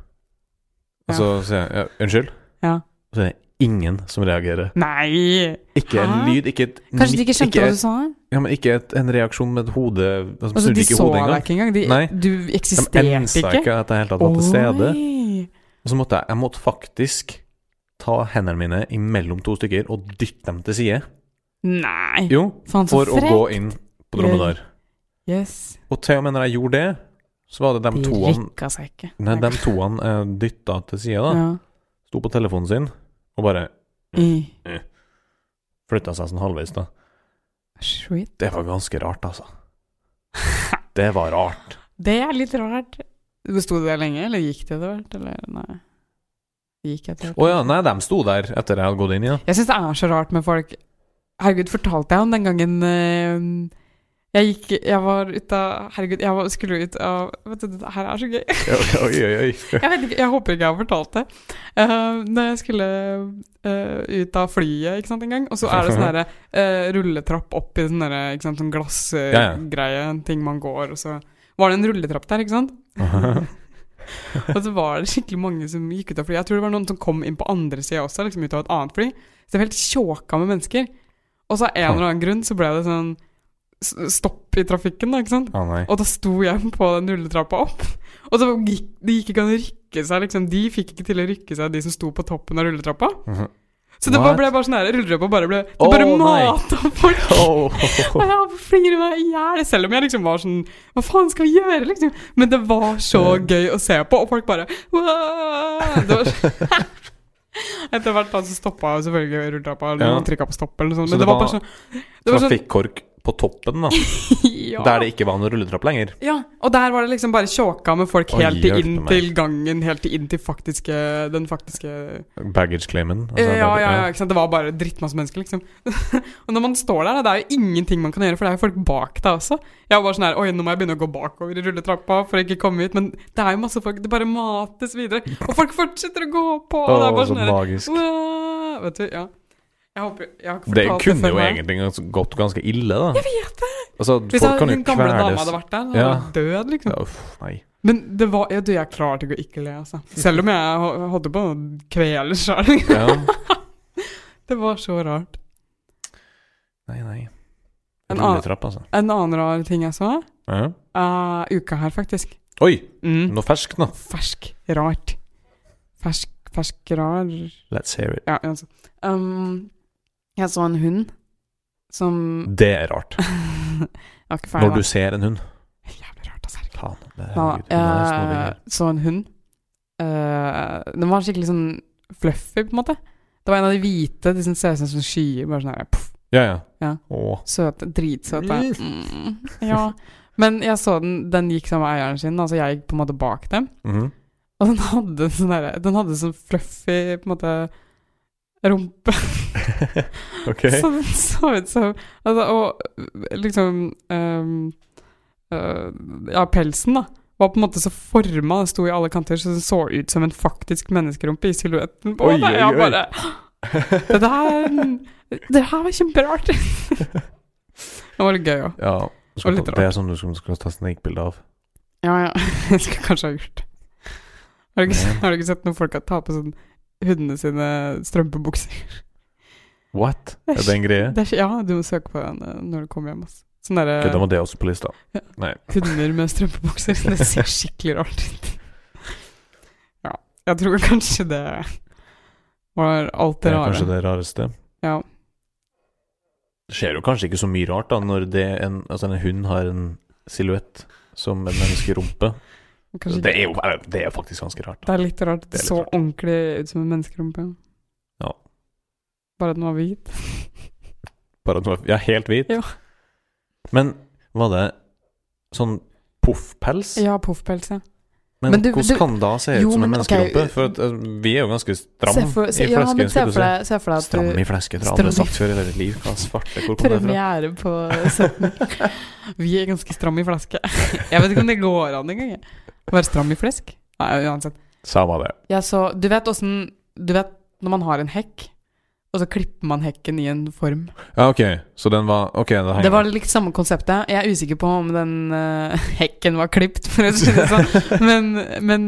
A: og så sier jeg ja, 'unnskyld'.
B: Ja.
A: Og så er det ingen som reagerer.
B: Nei!
A: Ikke en
B: Hæ?
A: lyd, ikke et
B: Kanskje de ikke skjønte hva
A: ikke,
B: du sa? her?
A: ja, men ikke et, en reaksjon med et hode altså,
B: Altså,
A: Snudde
B: de
A: ikke
B: så
A: hodet engang.
B: deg ikke engang. De,
A: Nei.
B: du
A: De
B: eksisterte
A: ensa
B: ikke.
A: ikke at jeg i det hele tatt var til stede.
B: Oi.
A: Og så måtte jeg, jeg måtte faktisk ta hendene mine imellom to stykker og dytte dem til side.
B: Nei!
A: Jo,
B: Faen, så
A: for å gå
B: frekk.
A: inn på dromedar.
B: Yes.
A: Og til og med når jeg gjorde det, så var det de
B: De
A: toene
B: rykka seg ikke.
A: Nei, de toene eh, dytta til side, da.
B: ja.
A: Sto på telefonen sin og bare
B: I.
A: flytta seg sånn halvveis, da.
B: [LAUGHS] Sweet.
A: Det var ganske rart, altså. Det var rart.
B: Det er litt rart. Sto du der lenge, eller gikk det etter hvert? Eller nei? Gikk etter hvert.
A: Å ja, nei, de sto der etter jeg hadde gått
B: [LAUGHS]
A: inn, ja.
B: Jeg syns det er så rart med folk Herregud, fortalte jeg om den gangen eh, jeg gikk Jeg var ute av Herregud, jeg var, skulle ut av Vet du, det her er så
A: [LAUGHS]
B: gøy.
A: Oi, oi, oi.
B: Jeg, vet ikke, jeg håper ikke jeg har fortalt det. Uh, når jeg skulle eh, ut av flyet ikke sant, en gang, og så er det sånn derre, eh, rulletrapp opp i sånn derre, ikke sant, sånn
A: Ja, ja.
B: glassgreie, en ting man går, og så var det en rulletrapp der, ikke sant? og så var det skikkelig mange som gikk ut av flyet. Jeg tror det var noen som kom inn på andre sida også, liksom ut av et annet fly. Så det var helt tjåka med mennesker. Og så av en eller annen grunn så ble det sånn s- stopp i trafikken, da, ikke sant?
A: [LAUGHS] Å
B: [LAUGHS]
A: nei.
B: Og da sto jeg på den rulletrappa opp, og så gikk, det gikk ikke an å rykke seg, liksom. De fikk ikke til å rykke seg, de som sto på toppen av rulletrappa.
A: Mhm.
B: Så det bare
A: What?
B: ble bare sånn her, rulletrappa bare ble Det
A: Å,
B: bare
A: nei.
B: mata
A: [LAUGHS]
B: folk!
A: Åh.
B: Og jeg flirer meg i hjel, selv om jeg liksom var sånn Hva faen skal vi gjøre, liksom? Men det var så gøy å se på, og folk bare «Wow!» det var så, [LAUGHS] Etter hvert da så stoppa jo selvfølgelig rulletrappa, eller
A: Ja.
B: noen trykka på stopp eller noe
A: Så
B: sånt. Men
A: det
B: det var
A: var
B: bare sånn det var sånn,
A: Trafikkork på toppen, da.
B: [LAUGHS] ja.
A: Der det ikke var noen rulletrapp lenger.
B: Ja, og der var det liksom bare tjåka med folk
A: Oi,
B: helt til
A: hjelpe
B: inn
A: meg.
B: til gangen, helt til inn til faktiske, den faktiske
A: Baggage claimen. altså,
B: ja, ja, ja,
A: bare-
B: ikke sant? Det var bare drittmasse mennesker, liksom. [LAUGHS] og når man står der, da, det er jo ingenting man kan gjøre, for det er jo folk bak deg også. Jeg var bare sånn her Oi, nå må jeg begynne å gå bakover i rulletrappa for å ikke komme hit. Men det er jo masse folk, det bare mates videre. Og folk fortsetter å gå på, og det er
A: Åh,
B: bare
A: så
B: sånn her
A: magisk.
B: «Wow!» Vet du, ja. Jeg håper Jeg har ikke
A: Det
B: fortalt det,
A: kunne
B: før
A: jo
B: nå.
A: egentlig gans- gått ganske ille, da. Jeg vet det! Altså,
B: Hvis
A: folk kan jo
B: den gamle dama hadde
A: kveles.
B: vært der, da hadde hun død, liksom.
A: Ja, uff, nei.
B: Men det var, ja, du, jeg klarte ikke å ikke le, altså. Selv om jeg ho- holdt på å kvele sjøl.
A: Ja.
B: [LAUGHS] Det var så rart.
A: nei, nei.
B: En annen-
A: Rulletrapp, altså.
B: En annen rar ting jeg så,
A: Ja.
B: er uka her, faktisk.
A: Oi!
B: Mm.
A: Noe ferskt, nå.
B: Fersk, rart. Fersk, fersk, rar
A: Let's hear it.
B: Ja, altså. Um, jeg så en hund som
A: Det er rart.
B: Jeg var ikke ferdig.
A: Når du ser en hund.
B: da. Jævlig rart, altså. herregud.
A: Faen. Det er,
B: Da,
A: herregud, det er snodig
B: jeg
A: her.
B: så en hund. Eh, den var skikkelig sånn fluffy, på en måte. Det var en av de hvite, de som ser ut som sånne skyer. Bare sånn her, puff.
A: ja, ja.
B: Ja.
A: Åh.
B: Søte, dritsøte.
A: Mm.
B: Mm. Ja. Men jeg så den, den gikk sammen med eieren sin, altså jeg gikk på en måte bak dem.
A: Mhm. [LAUGHS]
B: Og den hadde sånn derre Den hadde sånn fluffy på en måte rumpe.
A: Ok.
B: Så den så ut [LAUGHS] som altså, Og liksom ehm, eh, Ja, pelsen, da. Var på en måte så forma, den sto i alle kanter, så den så ut som en faktisk menneskerumpe i silhuetten. på
A: Oi,
B: en måte.
A: oi,
B: Jeg
A: oi.
B: bare Det her Det her var kjemperart.
A: [LAUGHS]
B: det var litt gøy òg.
A: [LAUGHS] Ja. Du Skal,
B: Og litt
A: ta- det er sånn du skal, skal ta snikbilde av.
B: Ja, ja. [LAUGHS] Jeg skulle kanskje ha gjort det. Har du ikke,
A: Ja.
B: har du ikke sett når folk har tatt på sånn hundene sine strømpebukser?
A: What? Er det en greie?
B: Det er, ikke- ja, du må søke på den eh, når du kommer hjem. ass. Sånne
A: Ok, da
B: derre
A: må det også på lista.
B: hunder med strømpebukser. Det ser skikkelig rart ut. Ja. Jeg tror kanskje det var alt
A: Det
B: det
A: er kanskje
B: rare.
A: det rareste.
B: Ja.
A: Det skjer jo kanskje ikke så mye rart da, når det er en, altså en hund har en silhuett som en menneskerumpe.
B: [LAUGHS] Kanskje
A: Det
B: ikke-
A: er jo eh, det er faktisk ganske rart.
B: det er litt rart. Det
A: Det er litt
B: så
A: rart.
B: ordentlig ut som en menneskerumpe.
A: Ja.
B: Bare at den var hvit.
A: Bare at nå er jeg er helt hvit.
B: Ja.
A: Men var det sånn poffpels?
B: Ja, poffpels, ja.
A: Men,
B: Men du-
A: hvordan
B: du-
A: kan da se ut
B: Jo,
A: som en
B: men ok,
A: menneskerumpe? For at, eh, vi er jo ganske stram
B: se for, se,
A: i
B: ja, men
A: flesken.
B: se
A: skulle
B: for
A: du si.
B: deg, se for deg at
A: Stram
B: du
A: i flesken, det har
B: Stram i-
A: aldri sagt før i hele mitt liv. Faen, svarte, hvor kom det fra?
B: Premiere på
A: [LAUGHS]
B: 17. Vi er ganske stramme i flaske. Jeg vet ikke om det går an engang. jeg. Å Være stram i flesk? Nei, uansett.
A: Samme det.
B: Jeg så, du vet åssen Du vet når man har en hekk, og så klipper man hekken i en form.
A: Ja, ok, så den var Ok, da henger
B: Det var litt samme konseptet. Jeg er usikker på om den eh, [LAUGHS] hekken var klipt, for å [LAUGHS] si det
A: [LAUGHS]
B: sånn. Men, men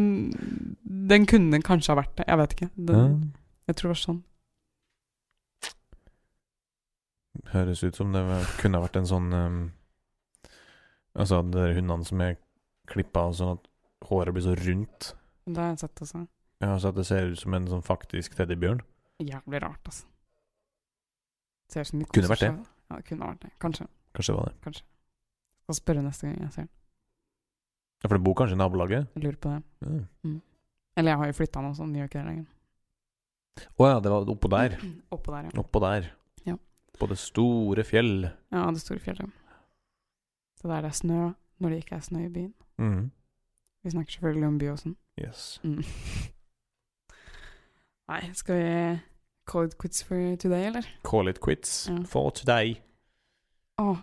B: den kunne kanskje ha vært det. Jeg vet ikke. Den,
A: Ja.
B: jeg tror det var sånn.
A: Høres ut som det var- kunne ha vært en sånn ehm, Altså de der hundene som er klippa sånn at håret blir så rundt.
B: Det har jeg sett også.
A: Ja, så at det ser ut som en sånn faktisk teddybjørn.
B: Jævlig rart, altså. Ser ut som de
A: Kunne
B: koser
A: vært det.
B: seg. Ja, det kunne vært det. Kanskje.
A: Kanskje det var det.
B: Skal spørre neste gang jeg ser den.
A: Ja, For det bor kanskje i nabolaget?
B: Jeg lurer på det.
A: Å mm.
B: Eller jeg har jo flytta nå, så den gjør ikke det lenger.
A: Å ja, det var oppå der.
B: [CLEARS THROAT] Oppå der, ja.
A: Oppå der.
B: Ja.
A: På det store fjell.
B: Ja, det store fjellet. Så der det er snø når det ikke er snø i byen.
A: Mm.
B: Vi snakker selvfølgelig om Byåsen.
A: Yes.
B: Mm. [LAUGHS] Nei, skal vi call it quits for today,
A: [LAUGHS]
B: eller?
A: Call it quits
B: Ja.
A: for today.
B: Åh,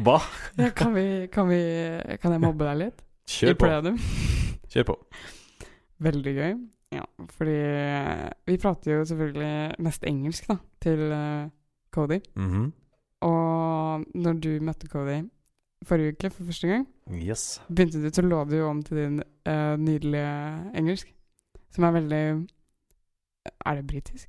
A: Hva?
B: ja, kan, vi, kan vi Kan jeg mobbe deg litt?
A: [LAUGHS] Kjør
B: I
A: på.
B: plenum?
A: Kjør på.
B: Veldig gøy. Ja, fordi eh, vi prater jo selvfølgelig mest engelsk, da, til eh, Cody.
A: Mhm.
B: Og når du møtte Cody forrige uke for første gang,
A: Yes.
B: begynte du, så lå du jo om til din eh, nydelige engelsk, som er veldig Er det britisk?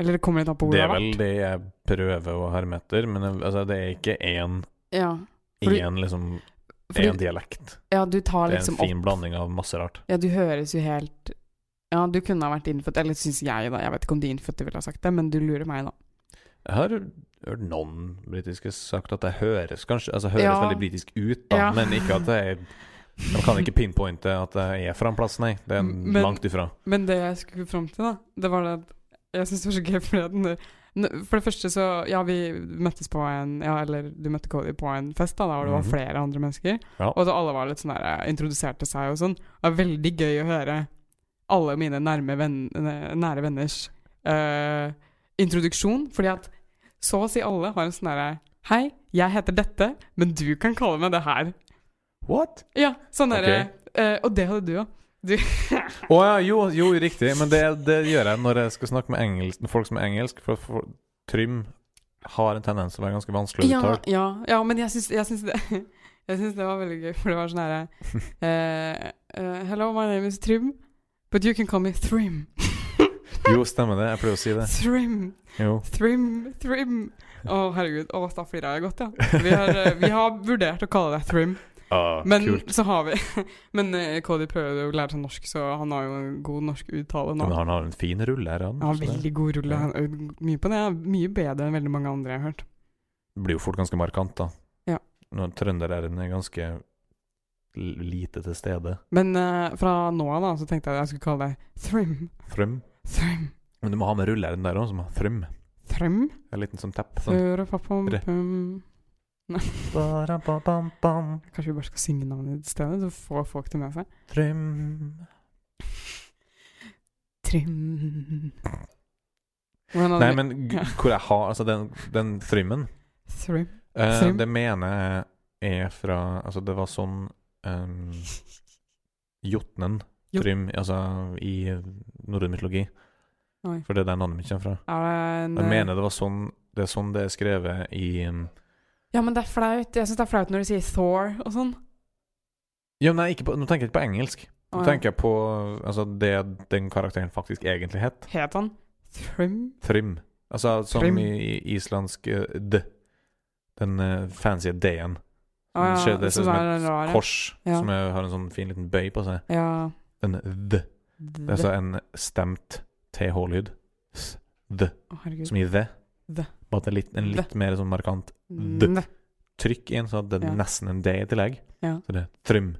B: Eller det kommer litt an på hvor
A: Det
B: det
A: er
B: har
A: vel
B: vært.
A: det jeg prøver å herme etter, men jeg- altså, det er ikke én,
B: Ja, Fordi-
A: én, liksom,
B: fordi-
A: én dialekt.
B: ja, du tar
A: Det er
B: liksom
A: en
B: opp
A: fin blanding av masse rart.
B: Ja, du høres jo helt Ja, du kunne ha vært innfødt, eller syns jeg, da. Jeg vet ikke om de innfødte ville ha sagt det, men du lurer meg, da.
A: Jeg har hørt noen britiske sagt at det høres kanskje altså høres
B: Ja.
A: veldig britisk ut, da,
B: Ja.
A: men ikke at det er De kan ikke pinpointe at det er fra en plass, nei. Det er
B: Men-
A: langt ifra.
B: Men det jeg skulle fram til, da, det var det at jeg syns det var så gøy fordi at når- når- For det første så Ja, vi møttes på en Ja, eller du møtte Cody på en fest, da, da hvor det var
A: Mhm.
B: flere andre mennesker.
A: Ja.
B: Og så alle var litt sånn der eh, Introduserte seg og sånn. Det var veldig gøy å høre alle mine nærme venn, eh, nære venners eh, introduksjon, fordi at så å si alle har en sånn derre Hei, jeg heter dette, men du kan kalle meg det her.
A: What?
B: Ja, sånn
A: Ok.
B: derre eh, Og det hadde du òg.
A: Å ja, jo, jo, riktig. Men det, det gjør jeg når jeg skal snakke med, engelsk, med folk som er engelsk, for, for Trym har en tendens til å være ganske vanskelig å
B: Ja,
A: uttale.
B: ja, ja men jeg syns, jeg syns det [LAUGHS] Jeg syns det var veldig gøy, for det var sånn herre eh, Hello, my name is Trym, but you can call me Thrym.
A: Jo, stemmer det. Jeg pleier å si det.
B: Thrym,
A: Jo.
B: Thrym, Thrym. Å, herregud. Å, da flirer jeg godt, ja. Vi har, eh, vi har vurdert å kalle deg Thrym,
A: [LAUGHS] Ah,
B: men
A: kult.
B: så har vi [LAUGHS] Men eh, Cody prøver jo å lære seg norsk, så han har jo en god norsk uttale nå.
A: Men han har en fin rulle her, han.
B: Han har
A: så det
B: veldig god rulle. Han øvde mye på det. Mye bedre enn veldig mange andre jeg har hørt.
A: blir jo fort ganske markant, da.
B: Ja.
A: Når trønderen er ganske l- lite til stede.
B: Men eh, fra nå av da, så tenkte jeg at jeg skulle kalle deg Thrym.
A: Frøm.
B: Thrym.
A: Men du må ha med rulleren der òg, som har frøm.
B: Thrym.
A: En liten sånn tepp. Sånn.
B: Før og pappam
A: Re.
B: pum.
A: Ba-ra-ba-bam-bam.
B: Kanskje vi bare skal synge navnet i stedet, så får folk det med seg.
A: Frøm.
B: Trim. Hvordan hadde
A: Nei,
B: vi-
A: men g- hvor jeg har Altså, den, den frymmen
B: Trim.
A: eh,
B: Frym?
A: Det mener jeg er fra Altså, det var sånn um, Jotnen.
B: Jot-
A: Frym, altså i norrøn mytologi.
B: Oi.
A: For det er der navnet mitt kommer fra.
B: Er det en
A: Jeg
B: eh,
A: mener det var sånn Det er sånn det er skrevet i um,
B: eh, Ja, men det er flaut. Jeg syns det er flaut når du sier Thor og sånn.
A: Ja, men nei, ikke på, nå tenker jeg ikke på engelsk. Nå
B: Å, ja.
A: tenker jeg på altså, det den karakteren faktisk egentlig het.
B: Het han Trim?
A: Thrym. Altså som
B: Thrym.
A: i, i islandsk eh, d. Den eh, fancy d-en.
B: Å ja,
A: Skjer det ser ut
B: så det
A: som
B: er
A: et
B: rare.
A: kors
B: Ja.
A: som er, har en sånn fin liten bøy på seg.
B: Ja.
A: Den d. Det er altså en stemt th-lyd. S- D.
B: Å, herregud.
A: Som i the.
B: The.
A: Bare at det er litt, en
B: The.
A: litt mer sånn markant d.
B: Ne-
A: trykk i en, så at det er
B: Ja.
A: nesten en d i tillegg.
B: Ja.
A: Så det er thrym.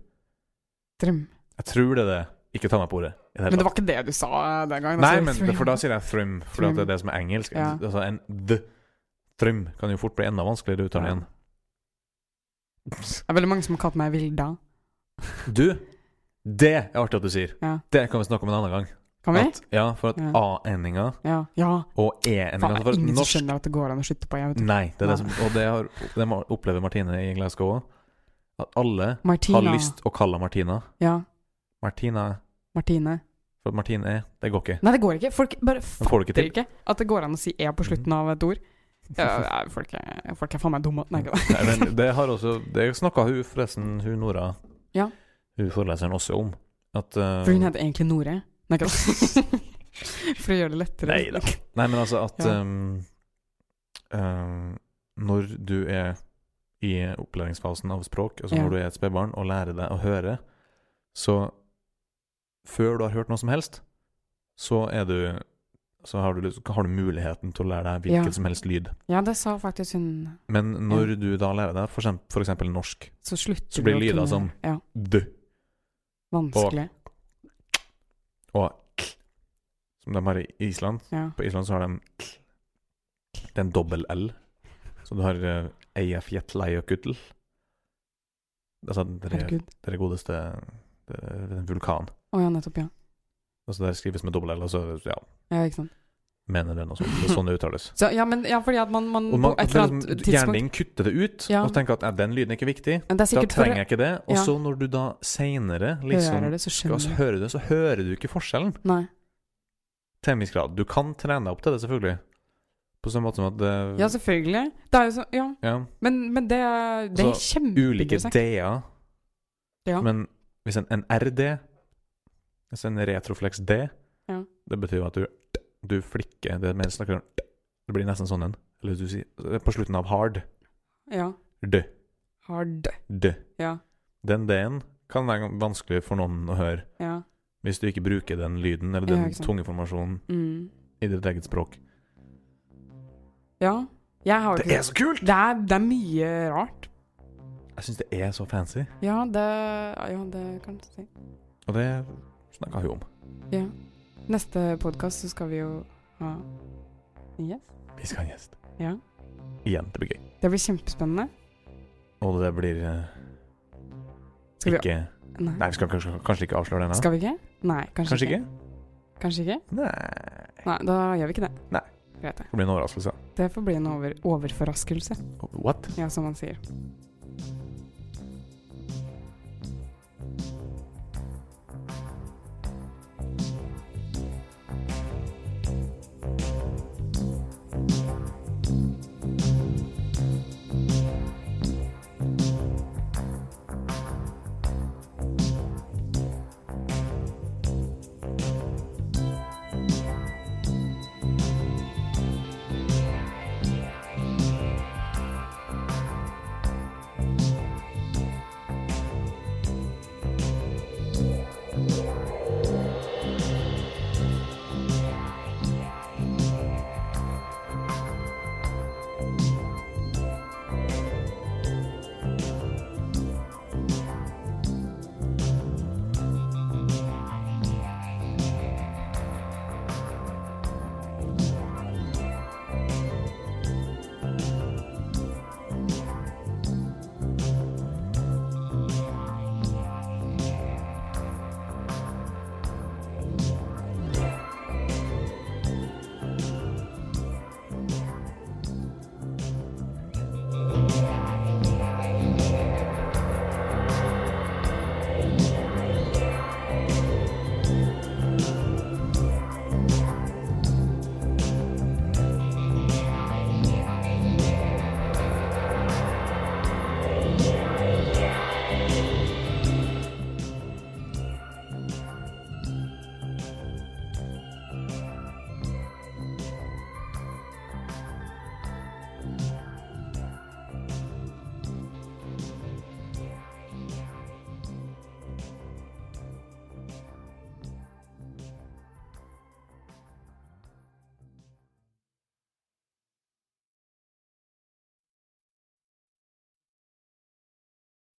B: Trim.
A: Jeg tror det er det. Ikke ta meg på ordet. i det hele
B: Men det
A: tatt.
B: var ikke det du sa eh, den gangen.
A: Nei,
B: altså,
A: men
B: trim.
A: det, for da sier jeg thrym, for det er det som er engelsk.
B: Ja.
A: Altså en d. Thrym kan jo fort bli enda vanskeligere å uttale
B: Ja.
A: igjen.
B: Det er veldig mange som har kalt meg Vilda.
A: Du, det er artig at du sier.
B: Ja.
A: Det kan vi snakke om en annen gang.
B: Kan vi?
A: At, ja, for at
B: Ja.
A: A-endinga
B: Ja. ja.
A: og
B: Faen,
A: E-endinga
B: det
A: for
B: er ingen som
A: norsk- Mm.
B: skjønner at det går an å slutte på jeg, vet du.
A: Nei, det er
B: Nei.
A: det som, og det, har, det må- opplever Martine i Glasgow òg. At alle
B: Martina.
A: har lyst å kalle henne Martina.
B: Ja.
A: Martina
B: Martine.
A: For at Martine er Det går ikke.
B: Nei, det går ikke. Folk bare
A: Det får du ikke
B: fatter
A: til. Mm.
B: ikke at det går an å si e på slutten av
A: [LAUGHS]
B: et ord. Ja, nei, folk, er, folk er faen meg dumme. Nei, ikke det.
A: Nei, men det har også Det snakka hun forresten, hun Nora,
B: Ja.
A: hun foreleseren, også om. At eh,
B: For hun heter egentlig Nore. Nei, ikke det. [LAUGHS] For å gjøre det lettere.
A: Nei da. Nei, men altså at
B: Ja.
A: ehm, ehm, Når du er i opplæringsfasen av språk, altså
B: Ja.
A: når du er et spedbarn og lærer deg å høre, så Før du har hørt noe som helst, så er du så har du, lyst- har du muligheten til å lære deg hvilken
B: Ja.
A: som helst lyd.
B: Ja, det sa faktisk hun.
A: Men når du da lærer deg for eksempel, for eksempel norsk
B: Så slutter
A: Så blir
B: du å
A: lyder
B: kunne-
A: som-
B: Ja,
A: d
B: vanskelig.
A: og k, som de har i Island
B: Ja.
A: På Island så har de k. Det er en dobbel L. Så du har uh, Eyjaf Jetleiokutl. Altså det er det
B: Herregud.
A: er det godeste det er en vulkan.
B: Å ja, nettopp, ja.
A: Altså det skrives med dobbel L, og så ja,
B: Ja, ikke sant.
A: mener den også. Det er sånn det uttales.
B: Så, ja, men ja, fordi at man, man,
A: Og man,
B: Mm, på et eller annet
A: det er liksom, hjernen
B: tidspunkt
A: din kutter det ut
B: Ja.
A: og tenker at «Nei, den lyden er ikke viktig.
B: Men Det er
A: Da
B: sikkert for å
A: trenger jeg ikke det. Og
B: Ja.
A: så når du da seinere liksom
B: høre det, så
A: skal-
B: skjønner
A: så
B: du.
A: hører du det, så hører du ikke forskjellen.
B: Nei.
A: Til en viss grad. Du kan trene deg opp til det, selvfølgelig. På samme måte som at det,
B: Ja, selvfølgelig. Det er jo så Ja,
A: ja,
B: men, men det, er- det er
A: Så, ulike
B: kjempeinteressant.
A: D-er.
B: Ja.
A: Men hvis en, en RD Altså en retroflex D,
B: Ja.
A: det betyr jo at du Du flikker det med snakkeren Det blir nesten sånn en. Eller du sier På slutten av hard.
B: Ja.
A: D.
B: Hard.
A: D.
B: Ja.
A: Den D-en kan være vanskelig for noen å høre
B: Ja.
A: hvis du ikke bruker den lyden eller
B: Ja,
A: den
B: ikke sant.
A: tungeformasjonen
B: Mm.
A: i ditt eget språk.
B: Ja. Jeg har jo
A: Det
B: ikke
A: er så kult!
B: det er, det er mye rart.
A: Jeg syns det er så fancy,
B: Ja, det, ja, det kan du si.
A: og det snakka vi om.
B: Ja. Neste podkast så skal vi jo ha Yes.
A: Vi skal ha en gjest.
B: Ja.
A: Igjen. Det blir gøy.
B: Det blir kjempespennende.
A: Og det blir eh,
B: Skal vi-
A: ikke
B: Nei.
A: Nei, vi skal kanskje, kanskje ikke avsløre den ennå?
B: Skal vi ikke? Nei, kanskje,
A: Kanskje ikke?
B: Kanskje ikke?
A: Nei
B: Nei, da gjør vi ikke det.
A: Nei.
B: Greit, det.
A: Det blir en overraskelse.
B: Det får bli en over overforraskelse,
A: What?
B: ja, som man sier.